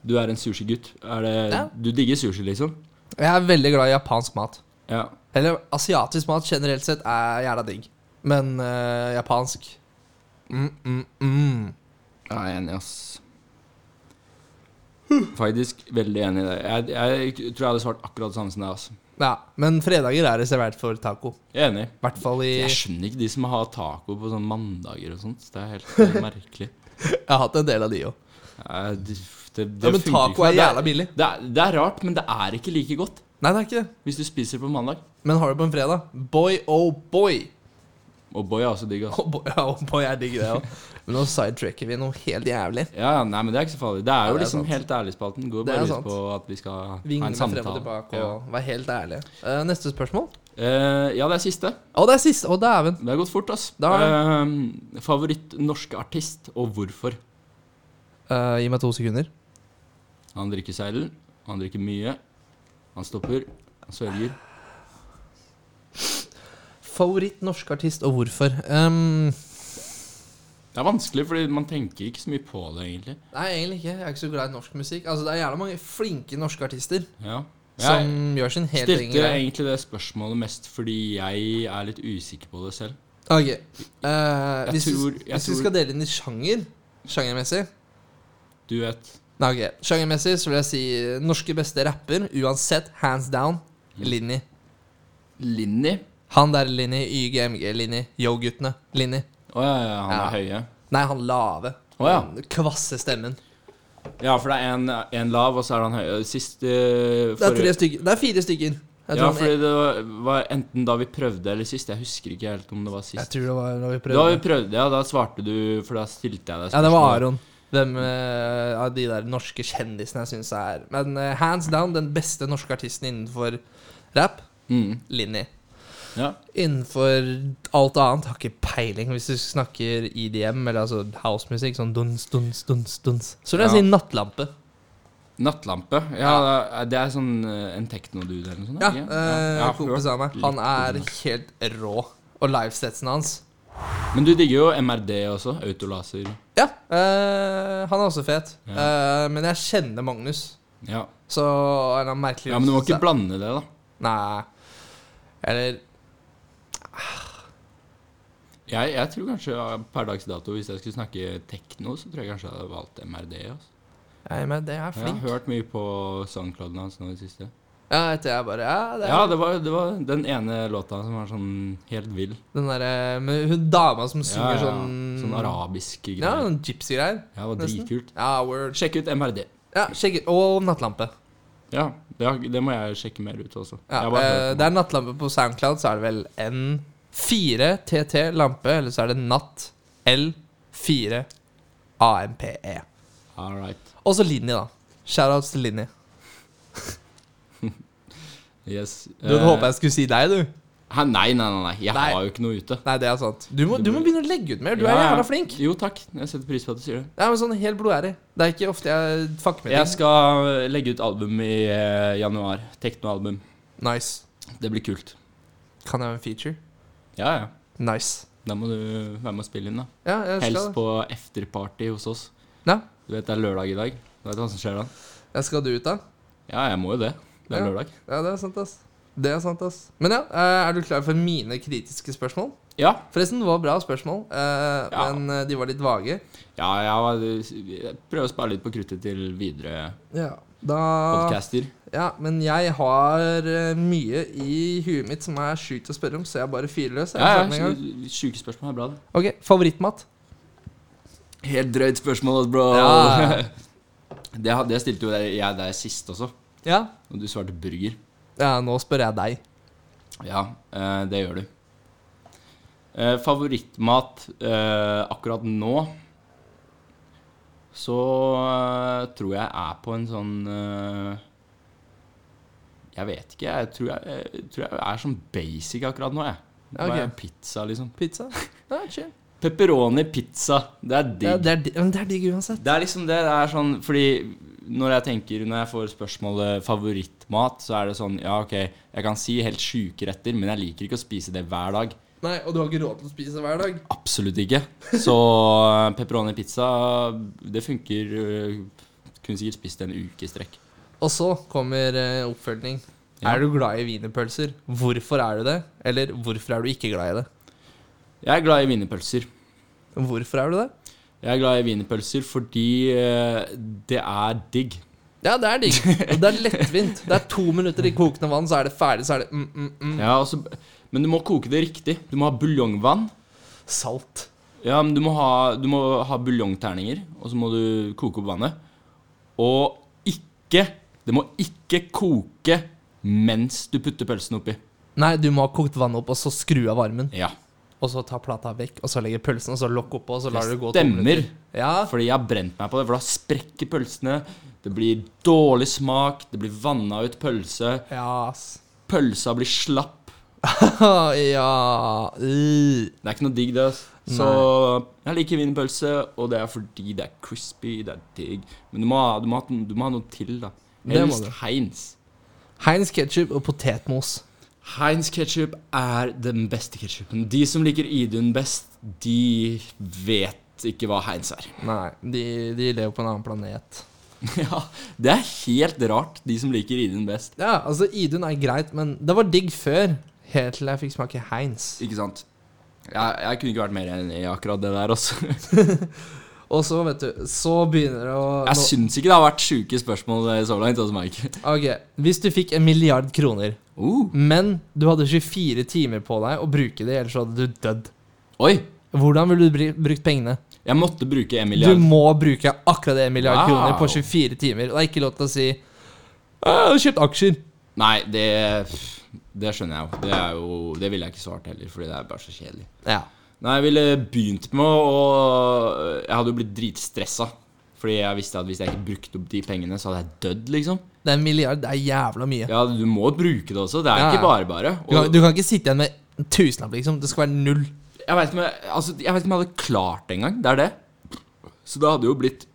D: Du er en sushigutt. Er det
C: Ja.
D: Du digger sushi, liksom?
C: Jeg er veldig glad i japansk mat.
D: Ja.
C: Eller asiatisk mat generelt sett er jævla digg. Men eh, japansk mm, mm, mm.
D: Jeg er enig, ass. Faktisk veldig enig i det. Jeg, jeg tror jeg hadde svart akkurat det samme som deg. ass.
C: Ja, men fredager er reservert for taco.
D: Jeg er enig.
C: I hvert fall i
D: Jeg skjønner ikke de som har taco på sånne mandager og sånt. Det er helt merkelig.
C: Jeg har hatt en del av de òg.
D: Ja, det, det, det
C: Ja, men
D: funker
C: taco
D: ikke.
C: er
D: Det
C: jævla billig.
D: Det er, det er rart, men det er ikke like godt
C: Nei, det er ikke det.
D: hvis du spiser på mandag.
C: Men har du på en fredag? Boy, oh boy.
D: Og boy er også digg, ass.
C: Oh boy, ja, oh boy er digg, det òg. Men nå sidetracker vi noe helt jævlig.
D: Ja, ja, nei, men det er ikke så farlig. Det er jo
C: det er
D: liksom
C: sant.
D: helt ærlig-spalten. Går jo
C: Det er
D: bare ut
C: sant.
D: på at vi skal ha
C: Vingle meg frem
D: en
C: og
D: samtale.
C: tilbake
D: ja.
C: og være helt ærlig. Eh, neste spørsmål?
D: Eh, ja, det er siste.
C: Å, det er siste. Å, dæven.
D: Det har gått fort, ass.
C: Da
D: Eh, favoritt norske artist, og hvorfor?
C: Eh, gi meg to sekunder.
D: Han drikker seidel. Han drikker mye. Han stopper. Han svelger.
C: Favoritt norsk artist, og hvorfor? Ehm,
D: Det er vanskelig, fordi man tenker ikke så mye på det, egentlig.
C: nei, egentlig ikke. Jeg er ikke så glad i norsk musikk. Altså, Det er jævla mange flinke norske artister
D: Ja.
C: som
D: Jeg
C: gjør sin helt egen
D: stilte
C: greie.
D: egentlig det spørsmålet mest fordi jeg er litt usikker på det selv.
C: Ok. Eh, hvis
D: tror-
C: vi-
D: jeg
C: hvis vi
D: tror-
C: skal dele inn i sjanger, sjangermessig
D: Du vet.
C: Nei, ok. Sjangermessig så vil jeg si eh, norske beste rapper, uansett, hands down,
D: Mm.
C: Linni.
D: Linni.
C: Han der Linni, YGMG Linni, Yo-guttene Linni.
D: Å ja, ja, han er høye.
C: Nei, han lave.
D: Å, ja.
C: Den Kvasse stemmen.
D: Ja, for det er en, en lav, og så er han høy. Sist eh,
C: Det er tre
D: forrige-
C: stykker. Det er fire stykker. Jeg
D: Ja,
C: tror,
D: fordi
C: han,
D: det var, var enten da vi prøvde eller sist. Jeg husker ikke helt om det var
C: jeg
D: sist.
C: tror det var når vi
D: Da vi
C: prøvde.
D: prøvde, ja, da svarte du, for da stilte jeg deg
C: Ja, det var
D: spørsmålet.
C: Aron. Hvem eh, av de der norske kjendisene jeg syns er Men eh, hands down den beste norske artisten innenfor rap,
D: Mm,
C: Linni.
D: ja.
C: Innenfor alt annet har ikke peiling. Hvis du snakker EDM, eller altså housemusikk, sånn duns, duns, duns, duns, så vil jeg
D: Ja.
C: si Nattlampe.
D: Nattlampe. Ja, det er- det er sånn eh, en teknodude eller noe sånt?
C: Ja,
D: ikke?
C: eh,
D: Ja,
C: kompis av meg.
D: hørt
C: Han er
D: litt om
C: helt rå. Og livesetsen hans
D: det. Men du digger jo MRD også. Autolaser.
C: Ja, eh, han er også fet. Eh, men jeg kjenner Magnus,
D: Ja.
C: så er han merkelig
D: ja, men du må ikke
C: Så-
D: blande det, da.
C: Nei. Eller
D: Jeg, jeg tror kanskje ja, per dags dato, hvis jeg skulle snakke tekno, så tror jeg kanskje jeg hadde valgt MRD. Altså.
C: Nei, men det er
D: Jeg har
C: flink.
D: hørt mye på soundclouden hans nå i det siste.
C: Ja, etter jeg bare Ja, det er
D: Ja, det var, det var den ene låta som var sånn helt vill.
C: den derre med hun dama som
D: Ja,
C: synger
D: ja, ja.
C: sånn
D: sånn arabisk
C: Ja,
D: greier.
C: sånn gypsy-greier.
D: Ja, det var
C: nesten.
D: dritkult.
C: Ja, word.
D: Sjekk ut MRD.
C: Ja, sjekk ut. Og Nattlampe.
D: Ja, det, har- det må jeg sjekke mer ut også.
C: Ja,
D: Jeg bare
C: eh,
D: hørte
C: det er Nattlampe på Soundcloud, så er det vel N4TT Lampe, eller så er det Natt L4 AMPE.
D: på- All right.
C: E. Og så Linni, da. Shoutouts til Linni.
D: Yes.
C: Du hadde håpet jeg skulle si deg, du.
D: Hæ, nei, nei, nei, nei. Jeg
C: Nei.
D: har jo ikke noe ute.
C: Nei, det er sant. Du må, du må begynne å legge ut mer. Du er
D: Ja, ja.
C: jævla flink.
D: Jo, takk. Jeg setter pris på at du sier det.
C: Ja, men sånn helt blodærig. Det er ikke ofte jeg fucker med
D: Jeg
C: ting.
D: skal eh, legge ut album i eh, januar. Teknoalbum.
C: Nice.
D: Det blir kult.
C: Kan jeg ha en feature?
D: Ja, ja.
C: Nice.
D: Da må du være med og spille inn, da.
C: Ja, jeg skal
D: Helst på efterparty hos oss.
C: Ja,
D: Du vet det er lørdag i dag. Du vet hva som skjer da?
C: jeg skal du ut, da.
D: Ja, jeg må jo det. Det er
C: Ja.
D: lørdag.
C: Ja, det er sant, ass. Det er sant, ass. Men ja, eh, er du klar for mine kritiske spørsmål?
D: Ja.
C: Forresten, det var bra spørsmål, eh,
D: Ja.
C: men eh, de var litt vage.
D: Ja, jeg, var- jeg prøver å spare litt på kruttet til videre
C: Ja, da
D: podcaster.
C: Ja, men jeg har eh, mye i huet mitt som er sjukt å spørre om, så jeg bare fyrer løs. jeg.
D: Ja,
C: Kjør med en
D: ja,
C: gang.
D: Sjuke spørsmål er bra, det.
C: Ok, favorittmat?
D: Helt drøyt spørsmål, altså, bro.
C: Ja.
D: det, had- det stilte jo jeg jeg deg sist også,
C: Ja.
D: og du svarte burger.
C: ja, nå spør jeg deg.
D: Ja, eh, det gjør du. Eh, favorittmat eh, akkurat nå så eh, tror jeg er på en sånn eh, Jeg vet ikke. Jeg tror jeg, jeg tror jeg er sånn basic akkurat nå, jeg.
C: Ja, ok.
D: Bare Pizza, liksom.
C: Pizza? Ja, chill.
D: Pepperoni pizza. Det er digg.
C: Ja, det, er, di- men det er digg uansett.
D: Det er liksom det, det er sånn Fordi når jeg tenker Når jeg får spørsmålet favorittmat, så er det sånn Ja, OK, jeg kan si helt sjuke retter, men jeg liker ikke å spise det hver dag.
C: Nei, Og du har ikke råd til å spise hver dag?
D: Absolutt ikke. Så eh, pepperoni pizza, det funker øh, Kunne sikkert spist det en uke i strekk.
C: Og så kommer eh, oppfølging.
D: Ja.
C: Er du glad i wienerpølser? Hvorfor er du det? Eller hvorfor er du ikke glad i det?
D: Jeg er glad i wienerpølser.
C: Hvorfor er du det?
D: Jeg er glad i wienerpølser fordi øh, det er digg.
C: Ja, det er digg. Og det er lettvint. Det er to minutter i kokende vann, så er det ferdig. Så er det mm, mm, mm.
D: Ja, og så- men du må koke det riktig. Du må ha buljongvann.
C: Salt.
D: Ja, men du må ha, du må ha buljongterninger, og så må du koke opp vannet. Og ikke Det må ikke koke mens du putter pølsen oppi.
C: Nei, du må ha kokt vann opp, og så skru av varmen.
D: Ja.
C: Og så ta plata vekk, og så legge pølsen, og så lokk oppå, og så lar du det gå to
D: Stemmer.
C: minutter. Ja,
D: Fordi jeg har brent meg på det, for da sprekker pølsene. Det blir dårlig smak, det blir vanna ut pølse.
C: Ja, ass.
D: Pølsa blir slapp.
C: ja øh.
D: Det er ikke noe digg, det. ass. Så jeg liker wienerpølse, og det er fordi det er crispy, det er digg. Men du må, ha- du må, ha, du må ha noe til, da.
C: Det må
D: Helst
C: du.
D: Heinz.
C: Heinz ketchup og potetmos.
D: Heinz ketchup er den beste ketchupen. De som liker Idun best, de vet ikke hva Heinz er.
C: Nei, de, de lever på en annen planet.
D: ja, Det er helt rart, de som liker Idun best.
C: Ja, altså Idun er greit, men det var digg før. Helt til jeg fikk smake Heinz.
D: Ikke sant? Jeg, jeg kunne ikke vært mer enig i akkurat det der. altså. Også.
C: Og så, vet du, så begynner det å
D: Jeg
C: nå-
D: syns ikke det har vært sjuke spørsmål så langt. Altså, Mike.
C: Ok, Hvis du fikk en milliard kroner,
D: Uh,
C: men du hadde 24 timer på deg å bruke det, ellers så hadde du dødd.
D: oi!
C: Hvordan ville du bri- brukt pengene?
D: Jeg måtte bruke en
C: Du
D: milliard.
C: må bruke akkurat det en milliard
D: Wow.
C: kroner på 24 timer. Det er ikke lov til å si «Å, 'Jeg har kjøpt aksjer'.
D: Nei, det, det skjønner jeg jo. Det, er jo. det ville jeg ikke svart heller, fordi det er bare så kjedelig.
C: Ja.
D: Nei, jeg ville begynt med å Jeg hadde jo blitt dritstressa. Fordi jeg visste at hvis jeg ikke brukte opp de pengene, så hadde jeg dødd, liksom.
C: Det er en milliard. Det er jævla mye.
D: Ja, du må bruke det også. Det er
C: Ja, ja.
D: ikke bare bare.
C: Du, kan,
D: Og
C: du kan ikke sitte igjen med en tusenlapp, liksom. Det skal være null.
D: jeg veit ikke om jeg altså, jeg vet ikke om jeg hadde klart det engang. Det er det. Så det hadde jo blitt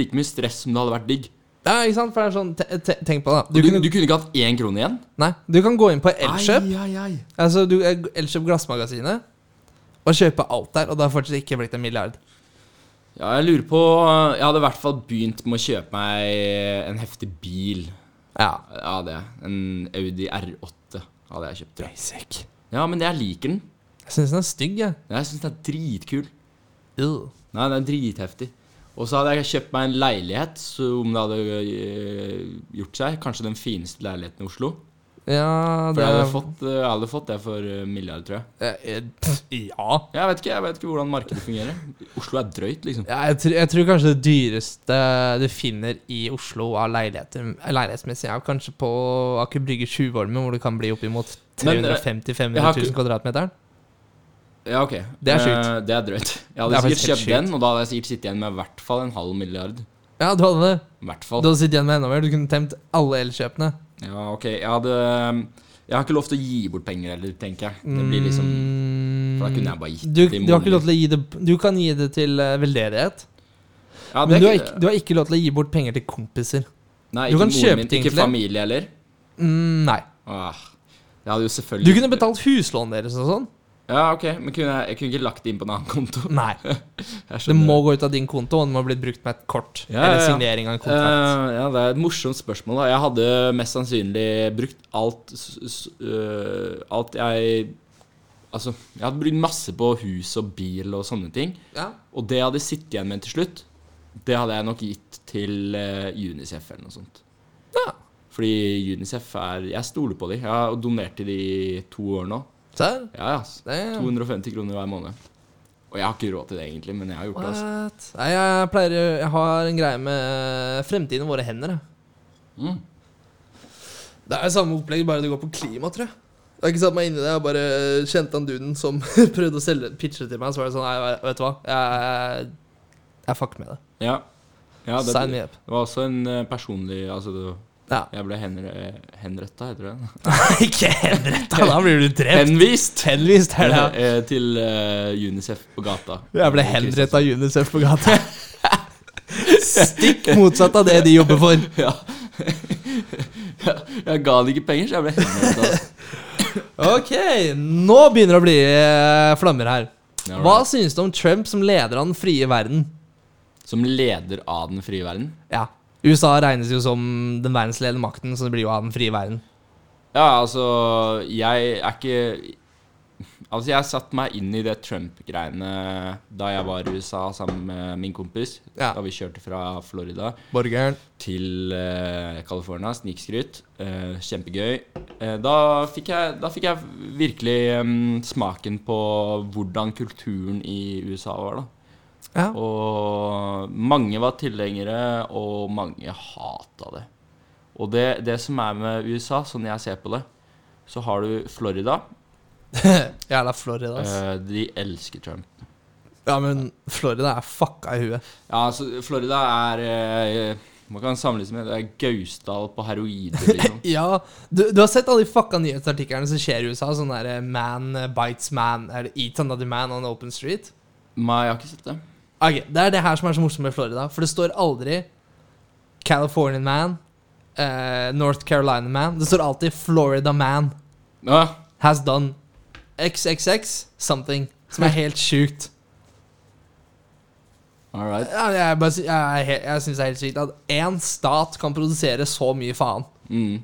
D: like mye stress som det hadde vært digg.
C: Ja, ikke sant? For det er sånn, te te Tenk på det. da. Du,
D: Du, du,
C: kunne,
D: kunne ikke hatt én krone igjen?
C: nei, du kan gå inn på Elkjøp,
D: Ai, ai, ai.
C: altså du- eh, Elkjøp Glassmagasinet, og kjøpe alt der, og det har fortsatt ikke blitt en milliard.
D: Ja, jeg lurer på Jeg hadde i hvert fall begynt med å kjøpe meg en heftig bil.
C: Ja.
D: Ja, det. En Audi R8 hadde jeg kjøpt. tror jeg. Ja, men jeg liker den.
C: Jeg syns den er stygg, jeg.
D: Jeg syns den er dritkul.
C: Ew.
D: Nei, den er dritheftig. Og så hadde jeg kjøpt meg en leilighet, så om det hadde øh, gjort seg. Kanskje den fineste leiligheten i Oslo.
C: Ja,
D: For jeg hadde fått, øh, jeg hadde fått det for øh, milliard, tror jeg.
C: Eh, eh, pff, Ja.
D: Jeg vet ikke, jeg vet ikke hvordan markedet fungerer. Oslo er drøyt, liksom.
C: Ja, jeg, tror, jeg tror kanskje det dyreste du finner i Oslo av leiligheter, leilighetsmessig, er kanskje på Aker Brygge Tjuvholmen, hvor det kan bli oppimot
D: Men, eh,
C: 350
D: jeg
C: 500
D: har
C: 000
D: ikke-
C: kvadratmeteren.
D: Ja, ok.
C: Det er
D: Eh,
C: sjukt.
D: det er drøyt. Jeg
C: Det
D: hadde
C: er
D: sikkert
C: faktisk helt
D: kjøpt den, og da hadde jeg sikkert sittet igjen med i hvert fall en halv milliard.
C: Ja, du hadde det.
D: I hvert
C: Du
D: fall.
C: hadde sittet igjen med enda mer. Du kunne temt alle elkjøpene.
D: Ja, ok. Jeg hadde Jeg har ikke lov til å gi bort penger heller, tenker jeg. Det blir liksom For da kunne jeg bare gitt
C: Mm. Du,
D: det i
C: du har ikke
D: moren
C: lov til å gi det Du kan gi det til eh, veldedighet,
D: min. ja, det
C: men
D: er
C: du har,
D: ikke-
C: ikke, du har ikke lov til å gi bort penger til kompiser.
D: Nei,
C: Du
D: ikke
C: kan kjøpe
D: moren min,
C: ting
D: ikke
C: til det.
D: familie heller.
C: Mm, nei.
D: Åh, jeg hadde jo selvfølgelig
C: Du kunne betalt huslånet deres og sånn.
D: Ja, ok, men kunne jeg, jeg kunne ikke lagt det inn på en annen konto.
C: Nei.
D: Jeg
C: Det
D: skjønner.
C: må gå ut av din konto, og det må bli brukt med et kort.
D: Ja, ja,
C: Eller
D: ja.
C: signering av en
D: Eh,
C: kontrakt.
D: ja, Det er et morsomt spørsmål. da Jeg hadde mest sannsynlig brukt alt s- s- øh, Alt jeg Altså, jeg hadde brukt masse på hus og bil og sånne ting.
C: Ja.
D: Og det jeg hadde sittet igjen med til slutt, det hadde jeg nok gitt til eh, Unicef eller noe sånt.
C: Ja.
D: Fordi Unicef er Jeg stoler på dem. Jeg har donert til dem i to år nå.
C: Serr?
D: Ja, ja. ass.
C: Det-
D: 250 kroner hver måned. Og jeg har ikke råd til det, egentlig, men jeg har gjort det. altså.
C: What? Nei, jeg pleier Jeg har en greie med eh, fremtiden i våre hender. jeg.
D: Mm.
C: Det er samme opplegg, bare det går på klima, tror jeg. Jeg har ikke satt meg inn i det. Jeg bare kjente han duden som prøvde å selge pitche det til meg. Så var det sånn Nei, vet du hva. Jeg, jeg fucker med det.
D: Ja. ja det,
C: Sign me up.
D: det var også en eh, personlig Altså, det,
C: Ja.
D: jeg ble henre, henretta, heter det.
C: ikke henretta, da blir du drept.
D: Henvist!
C: Henvist her, da.
D: Eh, Til eh, Unicef på gata.
C: Jeg ble henrettet av UNICEF på gata. Stikk motsatt av det de jobber for.
D: Ja. Jeg ga han ikke penger, så jeg ble altså. henretta.
C: Ok, nå begynner det å bli eh, flammer her. Hva synes du om Trump som leder av den frie verden?
D: Som leder av den frie verden?
C: Ja, USA regnes jo som den verdensledende makten, så det blir jo av den frie verden.
D: Ja, altså Jeg er ikke Altså, jeg satte meg inn i det Trump-greiene da jeg var i USA sammen med min kompis.
C: Ja.
D: Da vi kjørte fra Florida
C: Borgeren.
D: til eh, California. Snikskryt. Eh, kjempegøy. Eh, da, fikk jeg, da fikk jeg virkelig em, smaken på hvordan kulturen i USA var, da.
C: Ja.
D: Og mange var tilhengere, og mange hata det. Og det, det som er med USA, sånn jeg ser på det, så har du Florida.
C: Jævla Florida, ass.
D: Eh, de elsker Trump.
C: Ja, men Florida er fucka i huet.
D: Ja, altså, Florida er eh, Man kan sammenligne med det er Gausdal på heroin. Liksom.
C: Ja, du, du har sett alle de fucka nyhetsartiklene som skjer i USA? Sånn derre man eh, bites man, eller eat another man on open street?
D: Nei, jeg har ikke sett det.
C: Ok, Det er det her som er så morsomt med Florida. For det står aldri Californian man, eh, North Carolina man. Det står alltid Florida man
D: Ja,
C: has done XXX something. Som er helt sjukt.
D: all right.
C: Ja, Jeg, bare sy- jeg, er he- jeg syns det er helt sykt at én stat kan produsere så mye faen.
D: Mm.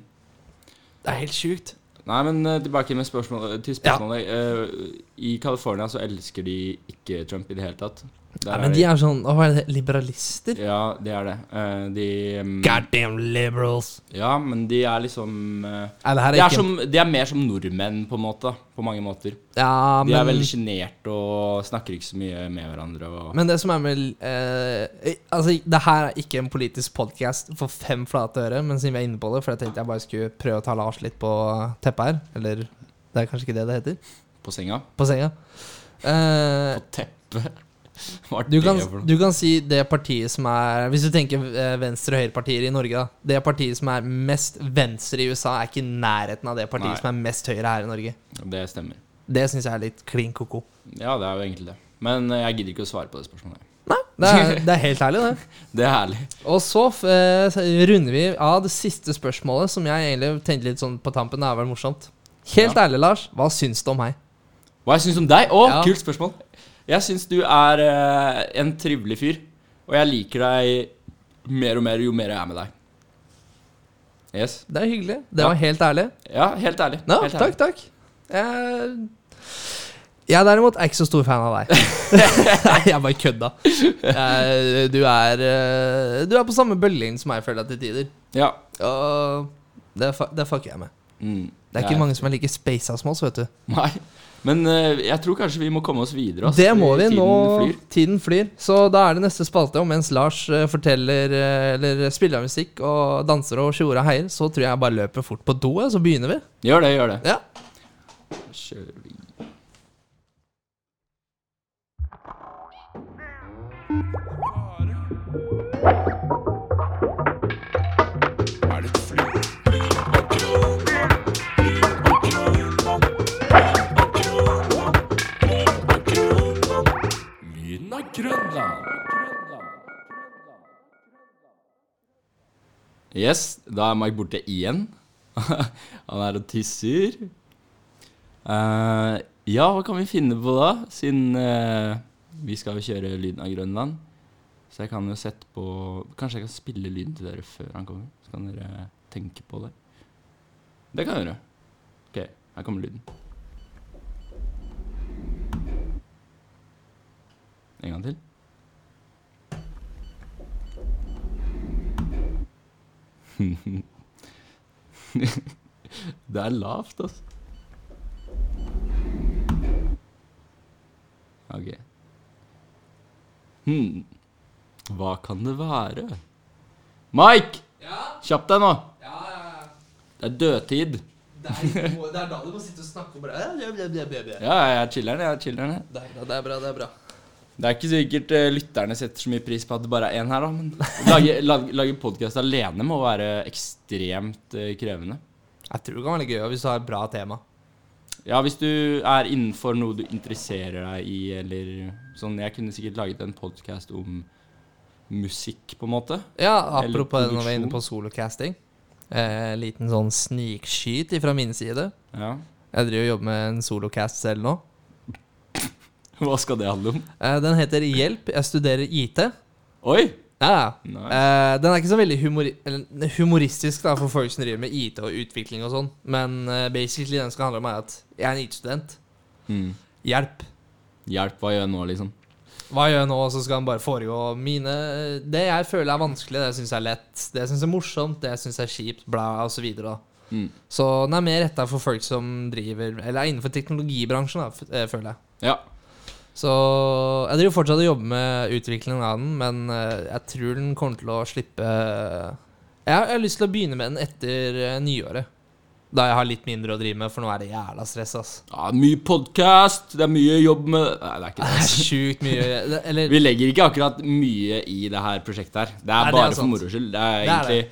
C: Det er helt sjukt.
D: Nei, men eh, tilbake med spørsmålet, til spørsmålet. Eh, I California så elsker de ikke Trump i det hele tatt. Der
C: Nei, men de er sånn Hva er det? Liberalister?
D: Ja, det er det. Eh, de mm,
C: Goddamn liberals.
D: Ja, men de er liksom eh,
C: Nei, det her er
D: de, er
C: ikke-
D: som, de er mer som nordmenn, på en måte. På mange måter.
C: Ja,
D: De
C: men,
D: er veldig sjenerte og snakker ikke så mye med hverandre. Og,
C: men det som er med eh, Altså, det her er ikke en politisk podkast for fem flate øre, men siden vi er inne på det, for jeg tenkte jeg bare skulle prøve å ta Lars litt på teppet her. Eller det er kanskje ikke det det heter?
D: på senga.
C: På senga. Eh,
D: På teppet. Hva er
C: du, kan,
D: det for noe?
C: du kan si det partiet som er Hvis du tenker eh, venstre- og høyrepartier i Norge, da. Det partiet som er mest venstre i USA, er ikke i nærheten av det partiet
D: Nei.
C: som er mest høyre her i Norge.
D: Det stemmer.
C: Det syns jeg er litt klin ko-ko.
D: Ja, det er jo egentlig det. Men eh, jeg gidder ikke å svare på det spørsmålet.
C: Det er, det er helt ærlig, det.
D: Det er herlig.
C: Og så eh, så runder vi av det siste spørsmålet, som jeg egentlig tenkte litt sånn på tampen. Det er vel morsomt. Helt ærlig, Lars, hva syns du om meg?
D: Hva jeg syns om deg? Å,
C: Ja.
D: kult spørsmål! Jeg syns du er eh, en trivelig fyr. Og jeg liker deg mer og mer jo mer jeg er med deg. Yes.
C: Det er hyggelig. Det
D: Ja.
C: var helt ærlig.
D: Ja, helt ærlig.
C: Nå,
D: helt
C: takk,
D: ærlig.
C: takk. Jeg, jeg derimot er ikke så stor fan av deg. Nei, jeg bare kødda. Jeg, du, er, eh, du er på samme bølgelengde som meg, føler jeg, til tider.
D: Ja.
C: Og det, fa- det fucker jeg med.
D: Mm.
C: Det er
D: Jeg-
C: ikke mange som er like spasa som oss, vet du.
D: Nei. Men eh, jeg tror kanskje vi må komme oss videre. ass.
C: Det må vi.
D: Tiden
C: nå
D: flyr.
C: Tiden flyr. Så da er det neste spalte. Og mens Lars eh, forteller eh, Eller spiller av musikk og danser og tjoer og heier, så tror jeg jeg bare løper fort på do, jeg, så begynner vi.
D: Gjør det, gjør det.
C: Ja.
D: Kjører vi.
B: Er det et fly? Lyden av Grønland.
D: Yes, da er Mike borte igjen. Han er og tisser. Eh, ja, hva kan vi finne på da? Siden eh, vi skal jo kjøre lyden av Grønland. Så jeg kan jo sette på Kanskje jeg kan spille lyden til dere før han kommer? Så kan dere tenke på det. Det kan jeg gjøre. OK, her kommer lyden. En gang til. Det er lavt, altså. Ok. Hmm. Hva kan det være? Mike! Kjapp deg nå! Det er dødtid.
C: Det er, det er da du må sitte og snakke og bare ja, ja, ja, ja, ja.
D: Ja, jeg er chiller'n. jeg er chilleren, jeg.
C: Det er bra, det er bra. det er bra
D: Det er ikke sikkert eh, lytterne setter så mye pris på at det bare er én her, da, men å lage, lage, lage podkast alene må være ekstremt eh, krevende.
C: Jeg tror det kan være litt gøy hvis du har et bra tema.
D: Ja, hvis du er innenfor noe du interesserer deg i, eller sånn Jeg kunne sikkert laget en podkast om musikk, på en måte.
C: Ja,
D: Eller
C: Apropos det når vi er inne
D: produksjon.
C: på solocasting. Eh, liten sånn snikskyt fra min side.
D: Ja.
C: Jeg driver og jobber med en solocast selv nå.
D: Hva skal det handle om?
C: Eh, den heter Hjelp, jeg studerer IT.
D: Oi!
C: Ja, ja.
D: Nice.
C: Eh, den er ikke så veldig humori eller, humoristisk da, for folk som driver med IT og utvikling og sånn, men eh, basically den skal handle om er at jeg er en IT-student.
D: Mm.
C: Hjelp.
D: Hjelp, hva gjør jeg nå, liksom?
C: Hva gjør jeg nå? Og så skal han bare foregå mine Det jeg føler er vanskelig, det syns jeg er lett. Det jeg syns er morsomt, det jeg syns er kjipt, bla, og så videre. da.
D: Mm.
C: Så den er mer retta for folk som driver Eller er innenfor teknologibransjen, da, f- eh, føler jeg.
D: Ja.
C: Så jeg driver fortsatt og jobber med utviklingen av den, men eh, jeg tror den kommer til å slippe eh, Jeg har, jeg har lyst til å begynne med den etter eh, nyåret. Da jeg har litt mindre å drive med, for nå er det jævla stress, ass.
D: ja mye podkast, det er mye jobb med Nei, det er ikke
C: Det
D: det.
C: er sjukt mye Eller
D: Vi legger ikke akkurat mye i det her prosjektet her. Det
C: Nei,
D: er
C: det er
D: bare for
C: sant.
D: moro skyld. Det er
C: Det er
D: egentlig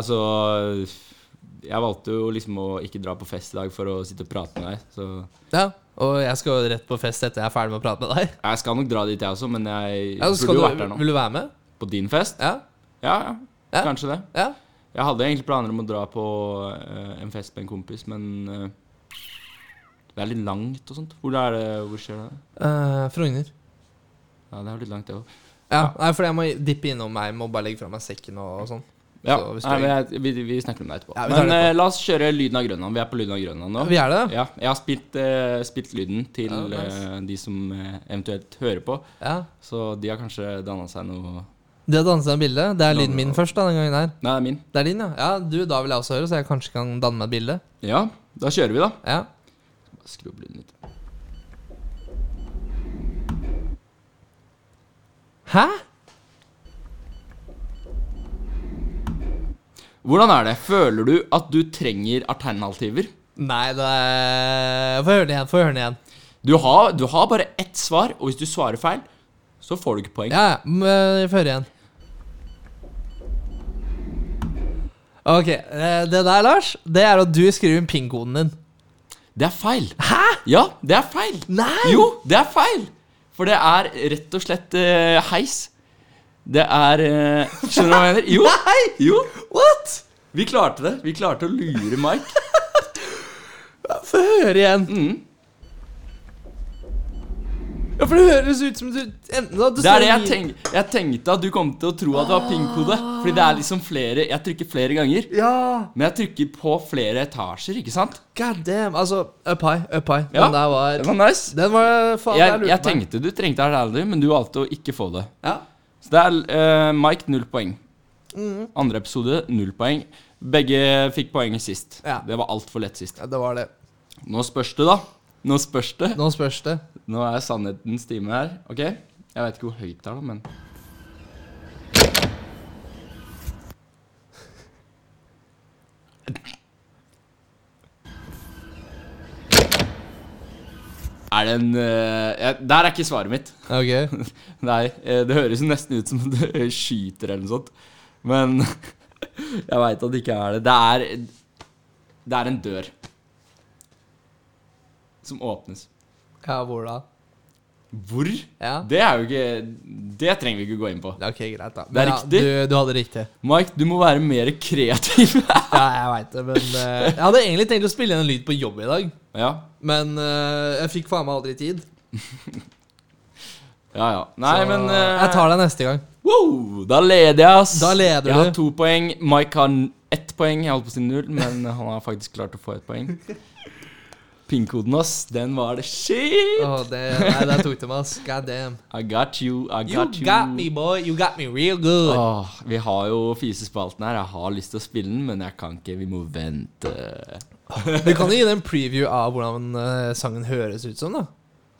D: Altså Jeg valgte jo liksom å ikke dra på fest i dag for å sitte og prate med deg, så
C: Ja, og jeg skal jo rett på fest etter jeg er ferdig med å prate med deg.
D: Jeg skal nok dra dit, jeg også, men jeg
C: Ja, så
D: burde
C: skal
D: jo vært
C: du,
D: der nå.
C: vil du være med?
D: På din fest?
C: Ja?
D: Ja, ja.
C: Ja.
D: Kanskje det.
C: ja?
D: Jeg hadde egentlig planer om å dra på eh, en fest med en kompis, men eh, Det er litt langt og sånt. Hvor er det Hvor skjer det?
C: Eh, Frogner.
D: Ja, det er jo litt langt, det òg.
C: Ja, nei, for jeg må dippe innom meg. Må bare legge fra meg sekken og, og sånn.
D: Ja.
C: Så hvis du-
D: Nei, men jeg, vi, vi snakker om det etterpå.
C: Ja, vi tar
D: men
C: det etterpå.
D: eh, la oss kjøre Lyden av Grønland. Vi er på Lyden av Grønland nå.
C: Vi er det?
D: Ja, jeg har spilt, eh, spilt lyden til
C: Ja, nice.
D: eh, de som eh, eventuelt hører på,
C: Ja.
D: så de har kanskje danna seg noe
C: Det å danne seg et bilde, det er lyden min først da, den gangen her.
D: Nei, det er min.
C: Det er din, ja. Ja, du, Da vil jeg også høre, så jeg kanskje kan danne meg et bilde.
D: Ja, da kjører vi, da.
C: Ja.
D: Skru opp lyden litt.
C: Hæ?
D: Hvordan er det? Føler du at du trenger alternativer?
C: Nei, det er Få høre den igjen. Få høre den iggen.
D: Du har, du har bare ett svar, og hvis du svarer feil, så får du ikke poeng.
C: Ja, ja. men Få høre igjen. Ok. eh, Det der, Lars, det er at du skriver inn pin-koden din.
D: Det er feil. Hæ? Ja, det er feil.
C: Nei!
D: Jo, det er feil. For det er rett og slett eh, heis. Det er eh, Skjønner du hva jeg mener? Jo. Nei! Jo.
C: What?
D: Vi klarte det. Vi klarte å lure Mike.
C: Få høre igjen.
D: Mm.
C: Ja, for det høres ut som du enten at du
D: Det er
C: står
D: det jeg,
C: i-
D: tenk, jeg tenkte at du kom til å tro at det var pin-kode. Fordi det er liksom flere Jeg trykker flere ganger.
C: Ja.
D: Men jeg trykker på flere etasjer, ikke sant?
C: God damn. Altså, up high, up high.
D: Ja.
C: Den der var
D: Det var nice.
C: Den var faen jeg
D: Jeg,
C: lurte
D: jeg
C: meg.
D: tenkte du trengte alternativ, men du valgte å ikke få det.
C: Ja.
D: Så det er eh, Mike null poeng.
C: Mm.
D: Andre episode null poeng. Begge fikk poeng sist.
C: Ja.
D: Det var altfor lett sist.
C: ja, det var det.
D: Nå spørs det, da. Nå spørs det.
C: Nå spørs det.
D: Nå er sannhetens time her. Ok? Jeg vet ikke hvor høyt det er, da, men Er det en eh, jeg, Der er ikke svaret mitt.
C: Ok.
D: Nei, eh, det høres jo nesten ut som om det skyter eller noe sånt. Men jeg veit at det ikke er det. Det er, det er en dør som åpnes.
C: Ja, hvor da?
D: Hvor?
C: Ja.
D: Det er jo ikke Det trenger vi ikke gå inn på.
C: Ja, Ok, greit, da.
D: Det er riktig.
C: Ja, du, du hadde riktig.
D: Mike, du må være mer kreativ.
C: Ja, jeg veit det, men eh, Jeg hadde egentlig tenkt å spille inn en lyd på jobb i dag,
D: ja.
C: men eh, jeg fikk faen meg aldri tid.
D: Ja, ja. Nei,
C: Så
D: men eh,
C: Jeg tar deg neste gang.
D: Wow, da leder jeg, ass.
C: Da leder
D: jeg
C: du.
D: har to poeng. Mike har n- ett poeng. Jeg holdt på å si null, men han har faktisk klart å få ett poeng. Pin-koden, ass, den var det shit.
C: Åh, det, nei, der tok du meg, ass. God damn.
D: I got you, I
C: You
D: got you.
C: got me, boy. You got me real good.
D: Åh, vi har jo fisespalten her. Jeg har lyst til å spille den, men jeg kan ikke. Vi må vente.
C: Du kan jo gi dem en preview av hvordan eh, sangen høres ut som, da.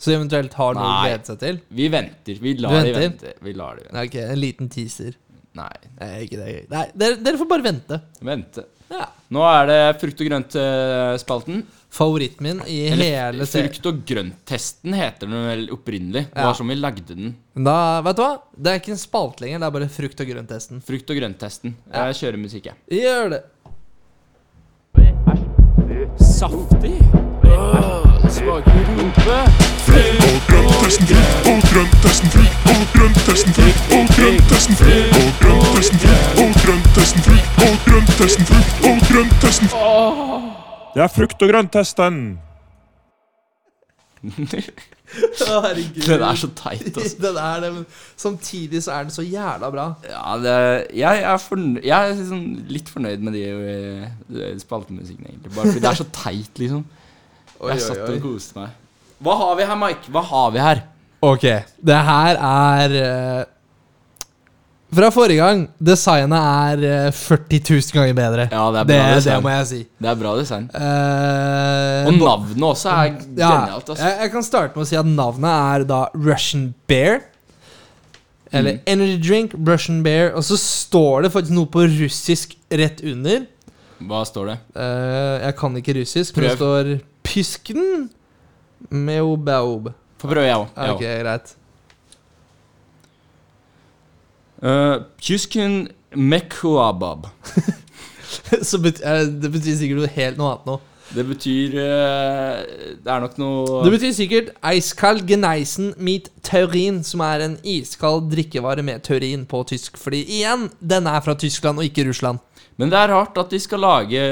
C: Så de eventuelt har noe å
D: Nei.
C: glede seg til.
D: Vi venter. Vi
C: Du
D: lar de
C: venter?
D: vente. Vi lar de vente.
C: Nei, ok, En liten teaser.
D: Nei,
C: Det er ikke det gøy. Nei, dere, dere får bare vente.
D: vente.
C: Ja.
D: Nå er det frukt- og grønt-spalten.
C: Favoritten min i hele serien.
D: frukt- og grønt-testen heter den vel opprinnelig. Det
C: Ja.
D: var som vi lagde den.
C: Da, vet du hva? Det er ikke en spalt lenger, det er bare frukt- og grønt-testen.
D: Frukt- og grønt-testen. Jeg kjører musikk, jeg.
C: Gjør det.
D: Saftig? Smaker rumpe.
F: Det er frukt- og grønt-testen.
C: Herregud.
D: Den er så teit, altså.
C: Den er det, men samtidig så er den så jævla bra.
D: Ja, det, jeg er, fornø jeg er sånn litt fornøyd med de, eh, de spaltemusikkene, egentlig. Bare fordi det er så teit, liksom.
C: Oi,
D: jeg satt og koste meg. Hva har vi her, Mike? Hva har vi her?
C: Ok, det her er eh, Fra forrige gang, designet er eh, 40 000 ganger bedre.
D: Ja, det er bra
C: det, det
D: design.
C: må jeg si.
D: Det er bra design.
C: Eh,
D: Og navnet også er
C: ja,
D: genialt. Altså.
C: jeg, jeg kan starte med å si at navnet er da Russian Bear. Eller
D: Mm.
C: Energy Drink, Russian Bear. Og så står det faktisk noe på russisk rett under.
D: Hva står det?
C: Eh, jeg kan ikke russisk, men det står Pysken meobaob.
D: Få prøve, jeg òg.
C: Ok, greit.
D: Kyskun mekuabab.
C: så bet eh, det betyr sikkert noe helt noe annet nå.
D: Det betyr eh, Det er nok noe
C: Det betyr sikkert eiskald geneisen mit taurin, som er en iskald drikkevare med taurin på tysk. Fordi igjen, den er fra Tyskland og ikke Russland.
D: Men det er rart at de skal lage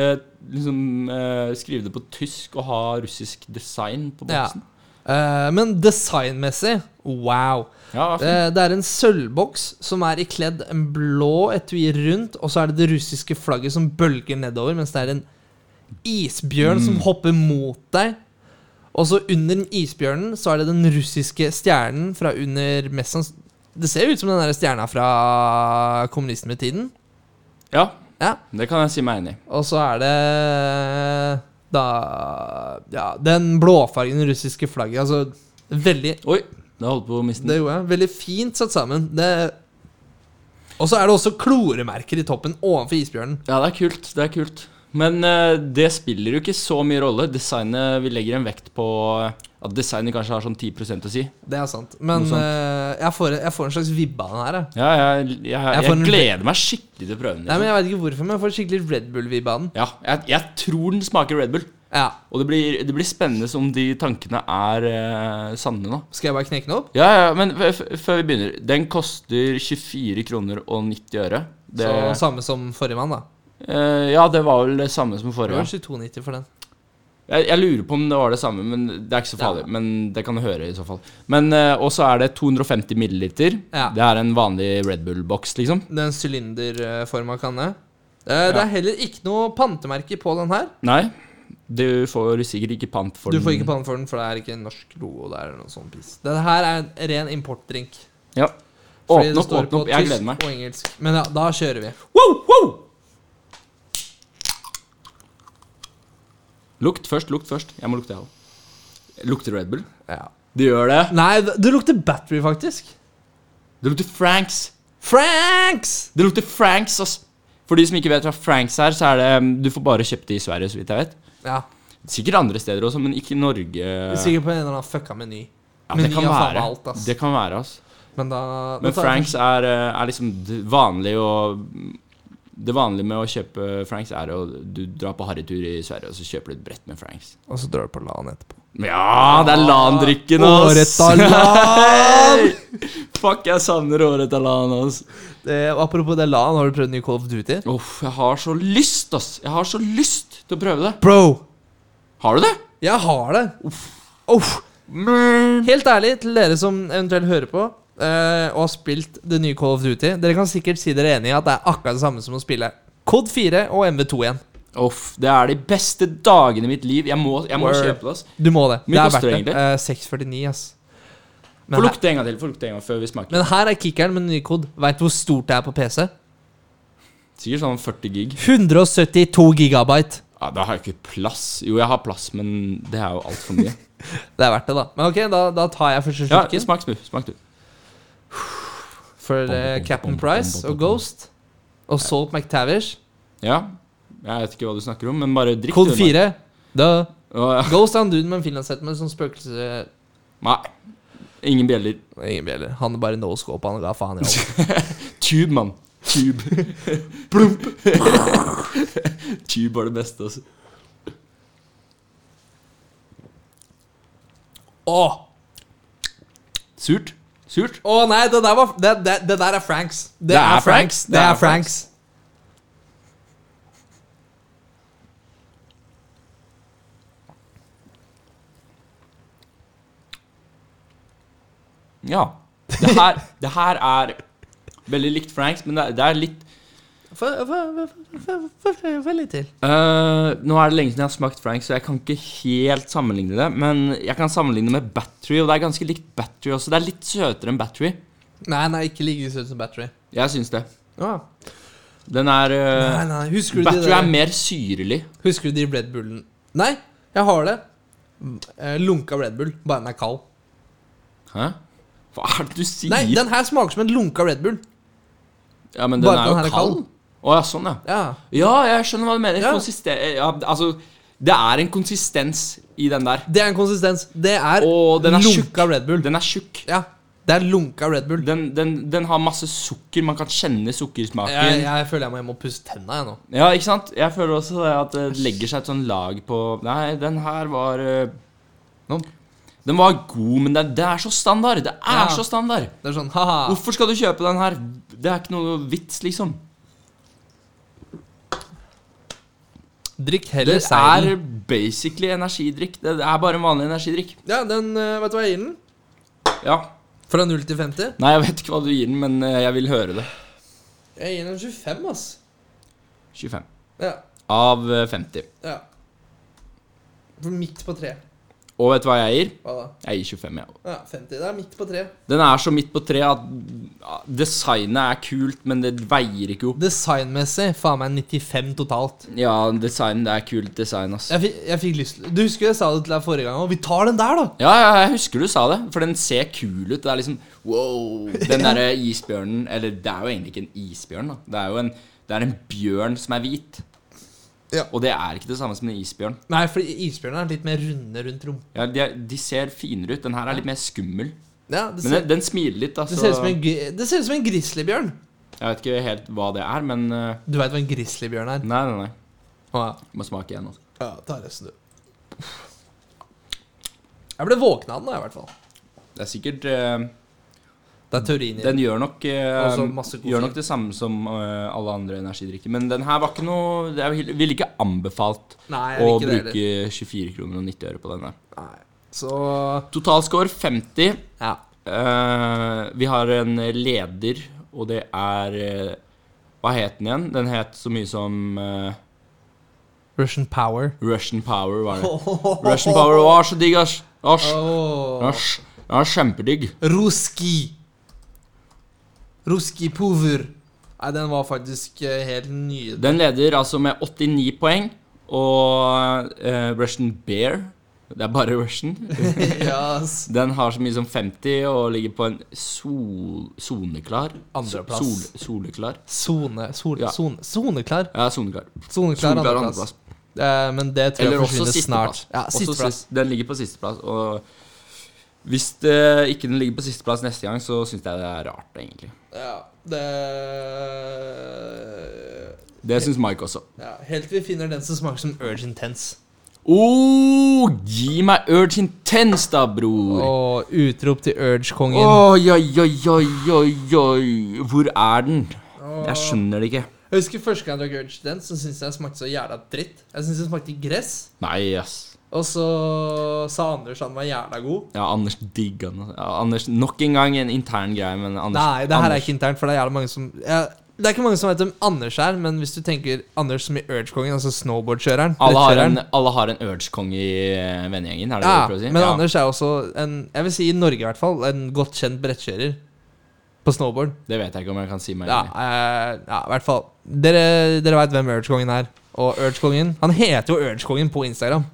D: liksom, eh, Skrive det på tysk og ha russisk design på
C: Ja.
D: boksen.
C: Eh, men designmessig, wow.
D: Ja,
C: Det, det er en sølvboks som er ikledd en blå etui rundt, og så er det det russiske flagget som bølger nedover, mens det er en isbjørn som hopper mot deg. Og så under den isbjørnen så er det den russiske stjernen fra under mest sanns... Det ser jo ut som den der stjerna fra kommunismetiden.
D: ja,
C: Ja.
D: det kan jeg si meg enig i.
C: Og så er det da Ja, den blåfargen i det russiske flagget. Altså veldig
D: Oi, det holdt på å miste
C: Det
D: den.
C: gjorde jeg. Veldig fint satt sammen. Det og så er det også kloremerker i toppen ovenfor isbjørnen.
D: Ja, det er kult. Det er kult. Men eh, det spiller jo ikke så mye rolle. Designet, Vi legger en vekt på eh, at designet kanskje har sånn 10 å si.
C: Det er sant. Men
D: Noe sånt.
C: eh, jeg, får, jeg får en slags vibbe av den her. Jeg.
D: Ja, jeg, jeg, jeg,
C: får en-
D: gleder meg skikkelig til å prøve den.
C: Nei, men
D: liksom.
C: Jeg vet ikke hvorfor, men jeg får skikkelig Red Bull-vibbe av den.
D: Ja, jeg, jeg tror den smaker Red Bull.
C: Ja,
D: Og det blir, det blir spennende som de tankene er eh, sanne nå.
C: Skal jeg bare knekke den opp?
D: Ja, ja, men f f før vi begynner. Den koster 24 kroner og 90 øre. Det,
C: Så Samme som forrige mann, da.
D: eh, ja, det var vel det samme som
C: Det
D: forrige
C: var
D: gang.
C: 22,90 for den.
D: Jeg, jeg lurer på om det var det samme, men det er ikke så farlig. Men det kan du høre i så fall. Men eh, Og så er det 250 milliliter.
C: Ja.
D: Det er en vanlig Red Bull-boks, liksom.
C: Den sylinderforma kanne. Eh, Det er heller ikke noe pantemerke på den her.
D: Nei, du får sikkert ikke pant for
C: Du
D: den.
C: får ikke panne for den, for det er ikke en norsk logo der. eller noe sånt piss. Den her er en ren importdrink.
D: Ja.
C: Fordi det
D: Åpne opp,
C: står
D: åpne
C: på
D: opp. Jeg
C: tysk
D: gleder meg.
C: Og engelsk. Men ja, da kjører vi.
D: Lukt først, lukt først. Jeg må lukte, jeg òg. Lukter Red Bull?
C: Ja.
D: Det gjør det.
C: Nei, det det lukter battery, faktisk.
D: Det lukter Franks.
C: Franks!
D: Det lukter Franks, ass. For de som ikke vet hva Franks er, så er det um, Du får bare kjøpt det i Sverige, så vidt jeg vet.
C: Ja,
D: Sikkert andre steder også, men ikke i Norge. Ja,
C: Sikkert på en eller annen fucka meny.
D: det
C: Meny
D: kan
C: har faen meg
D: være.
C: alt, ass.
D: Det kan være, ass.
C: Men da da tar
D: Men
C: jeg
D: Franks er, uh, er liksom det vanlige å Det vanlige med å kjøpe Franks er å du drar på harrytur i Sverige, og så kjøper du et brett med Franks.
C: først, Og så drar du på LAN etterpå.
D: Ja, det er LAN-drikken, ass!
C: Året av LAN!
D: Fuck, jeg savner året av LAN, ass.
C: Det- og Apropos det LAN, har du prøvd ny Call of Duty?
D: Uff, jeg har så lyst, ass. Jeg har så lyst til å prøve det.
C: Bro,
D: Har du det?
C: jeg har det. Uff. Uff. Helt ærlig til dere som eventuelt hører på eh, og har spilt det nye Call of Duty. Dere kan sikkert si dere enig i at det er akkurat det samme som å spille Cod 4 og MV2 igjen.
D: Uff, det er de beste dagene i mitt liv. Jeg må, jeg må
C: Word.
D: kjøpe det, ass.
C: Du må det.
D: Mye
C: det er
D: koster
C: verdt
D: det
C: det. Eh, 6,49, ass. Men
D: Få
C: her,
D: lukte en gang til, få lukte en gang før vi smaker.
C: men her er kickeren med ny kod. Veit du hvor stort det er på PC?
D: Sikkert sånn 40 gig.
C: 172 gigabyte.
D: Ja, da har jeg ikke plass. Jo, jeg har plass, men det er jo altfor mye.
C: Det er verdt det, da. Men ok, da, da tar jeg første
D: Ja,
C: slurken.
D: smak du. Smak du.
C: For eh, Captain Price og Ghost og Salt McTavish.
D: Ja. Jeg vet ikke hva du snakker om, men bare drikk.
C: Kode
D: du,
C: 4.
D: da.
C: Da.
D: Å, ja.
C: Ghost er han duden med en finlandshette med sånn spøkelse...
D: Nei. Ingen bjeller.
C: Ingen bjeller. Han er bare no scope, han ga faen i alt.
D: Tube, mann. Tube. Plump. Tube var det beste, altså.
C: Å,
D: Surt. Surt.
C: å nei, det der, var, det, det, det der er Franks. Det,
D: er Franks.
C: Det er Franks.
D: Ja. Det her, det her er veldig litt Franks, men det er, det er litt
C: Få litt til.
D: Øh, Nå er det lenge siden jeg har smakt Franks, så jeg kan ikke helt sammenligne det. Men jeg kan sammenligne med Battery, og det er ganske likt Battery også. Det er litt søtere enn Battery.
C: Nei, nei, ikke like søt som Battery.
D: Jeg syns det.
C: Ja.
D: Den er øh,
C: Nei, nei, husker du de
D: Battery er
C: der?
D: mer syrlig.
C: Husker du de Red Bullen? Nei, jeg har det. Eh, Lunka Red Bull, bare den er kald.
D: Hæ? Hva er det du sier?
C: Nei, den her smaker som en lunka Red Bull.
D: ja, men den
C: bare
D: er
C: den
D: jo
C: her er
D: kald.
C: kald.
D: Å ja, sånn, ja.
C: Ja.
D: Ja, jeg skjønner hva du mener.
C: Ja.
D: Konsisten... Ja, altså, det er en konsistens i den der.
C: Det er en konsistens. Det er,
D: Og den er tjukk.
C: lunka Red Bull.
D: Den er tjukk.
C: Ja, det er lunka Red Bull.
D: Den, den, den har masse sukker. Man kan kjenne sukkersmaken.
C: Jeg, jeg føler jeg må hjem og pusse tenna, jeg nå.
D: Ja, ikke sant? Jeg føler også det at det legger seg et sånn lag på Nei, den her var eh, noen- Den var god, men det, det er så standard. Det er
C: Ja.
D: så standard.
C: Det er sånn ha-ha.
D: Hvorfor skal du kjøpe den her? Det er ikke noe vits, liksom.
C: Drikk
D: Det
C: heller
D: er
C: seilen.
D: basically energidrikk. Det, det er bare en vanlig energidrikk.
C: Ja, den eh, Vet du hva jeg gir den?
D: Ja.
C: Fra 0 til 50?
D: Nei, jeg vet ikke hva du gir den, men eh, jeg vil høre det.
C: Jeg gir den 25, ass.
D: 25.
C: Ja.
D: Av eh, 50.
C: ja. For Midt på tre.
D: Og vet du hva jeg gir?
C: Hva da?
D: Jeg gir 25, jeg òg.
C: Ja, 50. Det er midt på tre.
D: Den er så midt på treet at ja, designet er kult, men det veier ikke opp.
C: Designmessig faen meg 95 totalt.
D: Ja, design, det er kult design, ass.
C: Jeg fikk, jeg fikk lyst til Du husker jeg sa det til deg forrige gang òg? Vi tar den der, da!
D: Ja, ja, jeg husker du sa det, for den ser kul ut. Det er liksom wow. Den derre isbjørnen Eller det er jo egentlig ikke en isbjørn, da. Det er jo en, det er en bjørn som er hvit.
C: Ja.
D: Og det er ikke det samme som en isbjørn.
C: Nei, fordi isbjørnen er litt mer runde rundt rom.
D: Ja, de, er, de ser finere ut. Den her er litt mer skummel.
C: Ja, det
D: Men
C: ser,
D: den, den smiler litt, da.
C: det
D: Så
C: ser ut som en, gri- det ser ut som en grizzlybjørn.
D: jeg vet ikke helt hva det er, men eh,
C: Du veit hva en grizzlybjørn er?
D: Nei, nei, nei.
C: Å, ja.
D: Må smake igjen. Altså.
C: Ja, ta resten, du. Jeg ble våken av den, da, i hvert fall.
D: Det er sikkert eh,
C: Det er teorien i
D: Den
C: den.
D: gjør nok, eh,
C: Også masse koffein.
D: gjør nok det samme som eh, alle andre energidrikker. Men den her var ikke noe det er, jo- ville ikke anbefalt
C: Nei, jeg
D: å
C: vil ikke det
D: bruke 24 kroner og 90 øre på den der.
C: Nei. Så
D: Totalscore 50.
C: Ja.
D: Eh, vi har en leder, og det er eh, Hva het den igjen? Den het så mye som eh,
C: Russian power.
D: Russian Power, var det. Russian Power var så digg, ass! Ass.
C: Oh.
D: Ass. Den er kjempedigg.
C: Ruski. Ruski pover. Nei, den var faktisk eh, helt nydelig.
D: Den leder altså med 89 poeng, og eh, Russian Bear Det er bare Russian.
C: Ja, ass.
D: Den har så mye som 50 og ligger på en sol, soneklar.
C: Andreplass.
D: Sol, soleklar.
C: Sone, sol,
D: Ja.
C: sone, soneklar.
D: Ja, soneklar.
C: Soneklar
D: Soleklar
C: andreplass.
D: andreplass.
C: Eh, men det tror
D: Eller
C: jeg
D: også
C: forsvinner
D: sisteplass.
C: snart. Ja,
D: Også
C: sisteplass.
D: sist- Den ligger på sisteplass. Og hvis det, ikke den ligger på sisteplass neste gang, så syns jeg det er rart, egentlig.
C: Ja, det
D: Det syns Mike også.
C: Ja, Helt til vi finner den som smaker som Urge Intense.
D: Oh, gi meg Urge Intense, da, bror!
C: Og utrop til Urge-kongen.
D: Oi, oi, oi, oi, oi, oi. Hvor er den? Jeg skjønner det ikke.
C: Jeg husker første gang jeg drakk Urge Intense, så syntes jeg den smakte så jævla dritt. Jeg syntes den smakte gress.
D: Nei, ass.
C: Og så sa Anders han var jævla god.
D: Ja, Anders digger den. altså. Ja, Anders, nok en gang en intern greie, men Anders
C: Nei, det her er
D: Anders,
C: ikke internt, for det er jævla mange som ja, Det er ikke mange som vet hvem Anders er, men hvis du tenker Anders som i Urge-kongen, altså snowboardkjøreren
D: alle har,
C: rettkjøreren.
D: en, alle har en Urge-konge i eh, vennegjengen, er det det
C: Ja,
D: du prøver å si?
C: men Anders er også en Jeg vil si i Norge i hvert fall en godt kjent brettkjører på snowboard.
D: Det vet jeg ikke om jeg kan si meg
C: Ja,
D: enig i.
C: eh, ja i hvert fall. Dere, dere veit hvem Urge-kongen er. Og Urge-kongen Han heter jo Urge-kongen på Instagram.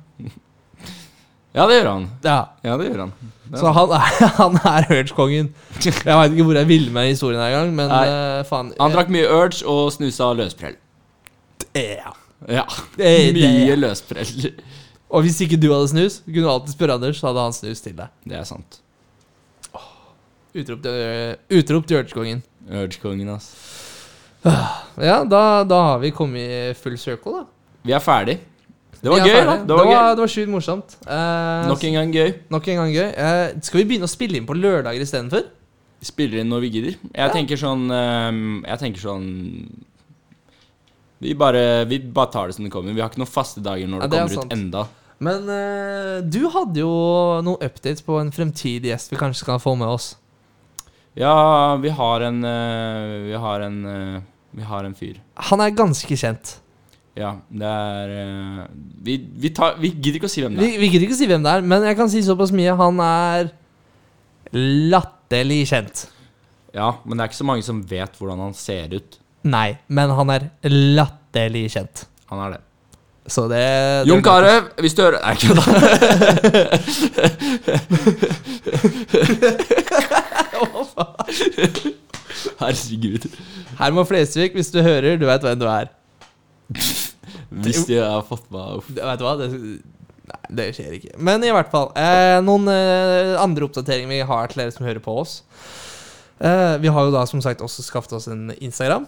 D: Ja, det gjør han.
C: Ja.
D: Ja, det gjør han.
C: Så han er, han er Urge-kongen. Jeg veit ikke hvor jeg ville med historien her engang, men
D: Nei.
C: eh, faen.
D: Han drakk mye Urge og snusa løsprell.
C: Eh, Ja.
D: Ja.
C: Det- det-
D: Mye løsprell.
C: Og hvis ikke du hadde snus, kunne du alltid spørre Anders, så hadde han snus til deg.
D: Det er sant.
C: Utrop til, utrop til Urge-kongen.
D: Urge-kongen, ass.
C: Ja, da, da har vi kommet i full circle, da.
D: Vi er ferdig. Det var
C: Vi er
D: gøy, da.
C: ferdig.
D: Det var gøy.
C: det var sjukt morsomt. Eh,
D: Nok en gang gøy.
C: Nok en gang gøy. Eh, skal vi begynne å spille inn på lørdager istedenfor?
D: Vi Spiller inn når vi gidder. Jeg tenker sånn ehm, Jeg tenker sånn vi bare, vi bare tar det som det kommer. Vi har ikke noen faste dager
C: Ja,
D: når det,
C: det er
D: kommer
C: sant.
D: ut enda.
C: Men eh, du hadde jo noen updates på en fremtidig gjest vi kanskje skal få med oss.
D: Ja, vi har en eh, Vi har en eh, Vi har en fyr.
C: Han er ganske kjent.
D: Ja, det er eh, Vi, vi, tar, vi gidder ikke å si hvem det
C: Vi,
D: er.
C: vi gidder ikke si hvem det er, men jeg kan si såpass mye. Han er latterlig kjent.
D: Ja, Men det er ikke så mange som vet hvordan han ser ut.
C: Nei, men han er latterlig kjent.
D: Han er det.
C: Så det, det
D: Jon Carew, hvis du hører Nei, kødda. Herregud.
C: Herman Flesvig, hvis du hører, du veit hvem du er.
D: Hvis de har fått meg opp.
C: Det- Vet du hva? Det, nei, det skjer ikke. Men i hvert fall. Eh, noen eh, andre oppdateringer vi har til dere som hører på oss. Eh, vi har jo da som sagt også skaffet oss en Instagram.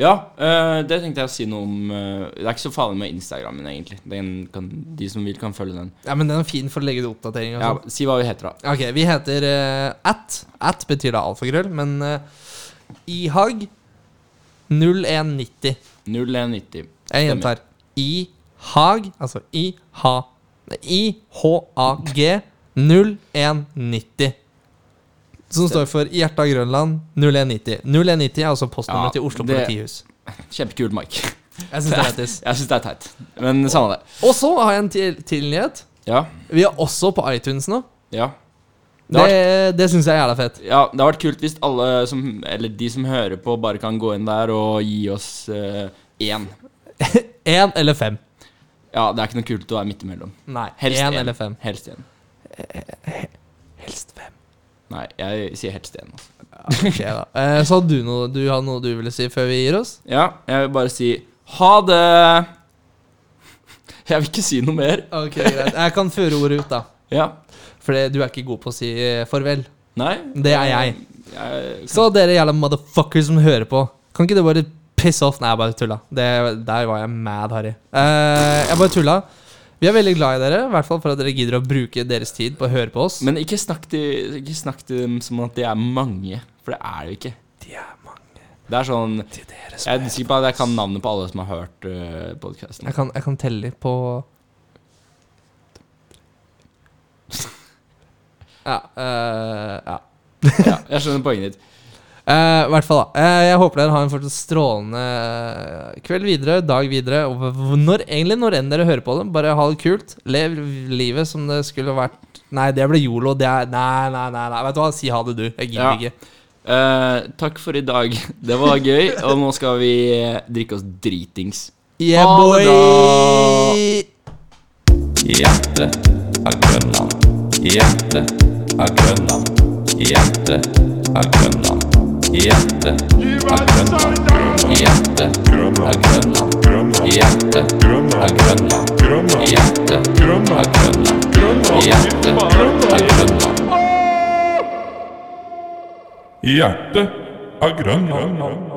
D: Ja, eh, det tenkte jeg å si noe om. eh, det er ikke så farlig med Instagrammen, egentlig. Den kan, de som vil, kan følge den.
C: Ja, men den er fin for å legge ut oppdateringer. og
D: Ja,
C: sånt.
D: si hva vi heter, da.
C: Ok, vi heter eh, at. At betyr da alfagrøll, men eh, ihag 0190.
D: 0190.
C: Jeg gjentar. Ihag, altså i-ha I-H-A-G 0190. Som står for Hjerta Grønland 0190. 0190 er altså postnummeret
D: Ja,
C: til Oslo
D: det-
C: politihus.
D: Kjempekult, Mike.
C: Jeg synes det er lættis.
D: Jeg syns det er teit, men samme det.
C: Og så har jeg en til, til nyhet.
D: Ja,
C: Vi er også på iTunes nå.
D: ja. Det
C: Det,
D: har
C: det syns jeg er jævla fett.
D: Ja, det har vært kult hvis alle som, eller de som hører på, bare kan gå inn der og gi oss eh, én.
C: Én eller fem.
D: Ja, det er ikke noe kult å være midt imellom.
C: Nei,
D: Helst
C: én
D: én.
C: eller fem.
D: Helst én.
C: Helst fem.
D: Nei, jeg sier helst én. Altså.
C: Ok, da. Eh, så hadde du noe du, hadde noe du ville si før vi gir oss?
D: Ja, jeg vil bare si ha det! Jeg vil ikke si noe mer.
C: Ok, greit. Jeg kan føre ordet ut, da.
D: Ja.
C: For det- du er ikke god på å si eh, farvel.
D: Nei.
C: Det er jeg.
D: jeg
C: Så dere jævla motherfuckers som hører på, kan ikke dere bare piss off? Nei, jeg bare tulla. Det, der var jeg mad harry. Eh, jeg bare tulla. Vi er veldig glad i dere, i hvert fall for at dere gidder å bruke deres tid på å høre på oss.
D: men ikke snakk, til, ikke snakk til dem som at de er mange, for det er det jo ikke.
C: de er mange.
D: Det er sånn
C: dere
D: Jeg er sikker på at jeg kan navnet på alle som har hørt uh, podkasten.
C: Jeg kan, jeg kan telle de på Ja. eh, ja.
D: Ja, jeg skjønner poenget ditt.
C: Eh, I hvert fall, da. Eh, jeg håper dere har en fortsatt strålende eh, kveld videre, dag videre. Og v- når, egentlig når enn dere hører på det, bare ha det kult. Lev livet som det skulle vært Nei, det ble yolo. Det er Nei, nei, nei. nei. Vet du hva, si ha det, du. Jeg gidder
D: Ja.
C: ikke.
D: Eh, takk for i dag. Det var gøy, og nå skal vi eh, drikke oss dritings.
C: Yeah,
D: Ha det
C: boy!
A: Hjertet er Grønland. Hjertet er Grønland. Hjertet er Grønland. Hjertet er Grønland. Hjertet er Grønland. Hjertet er Grønland. Hjertet er Grønland. Hjertet er Grønland.
F: Hjertet er Grønland.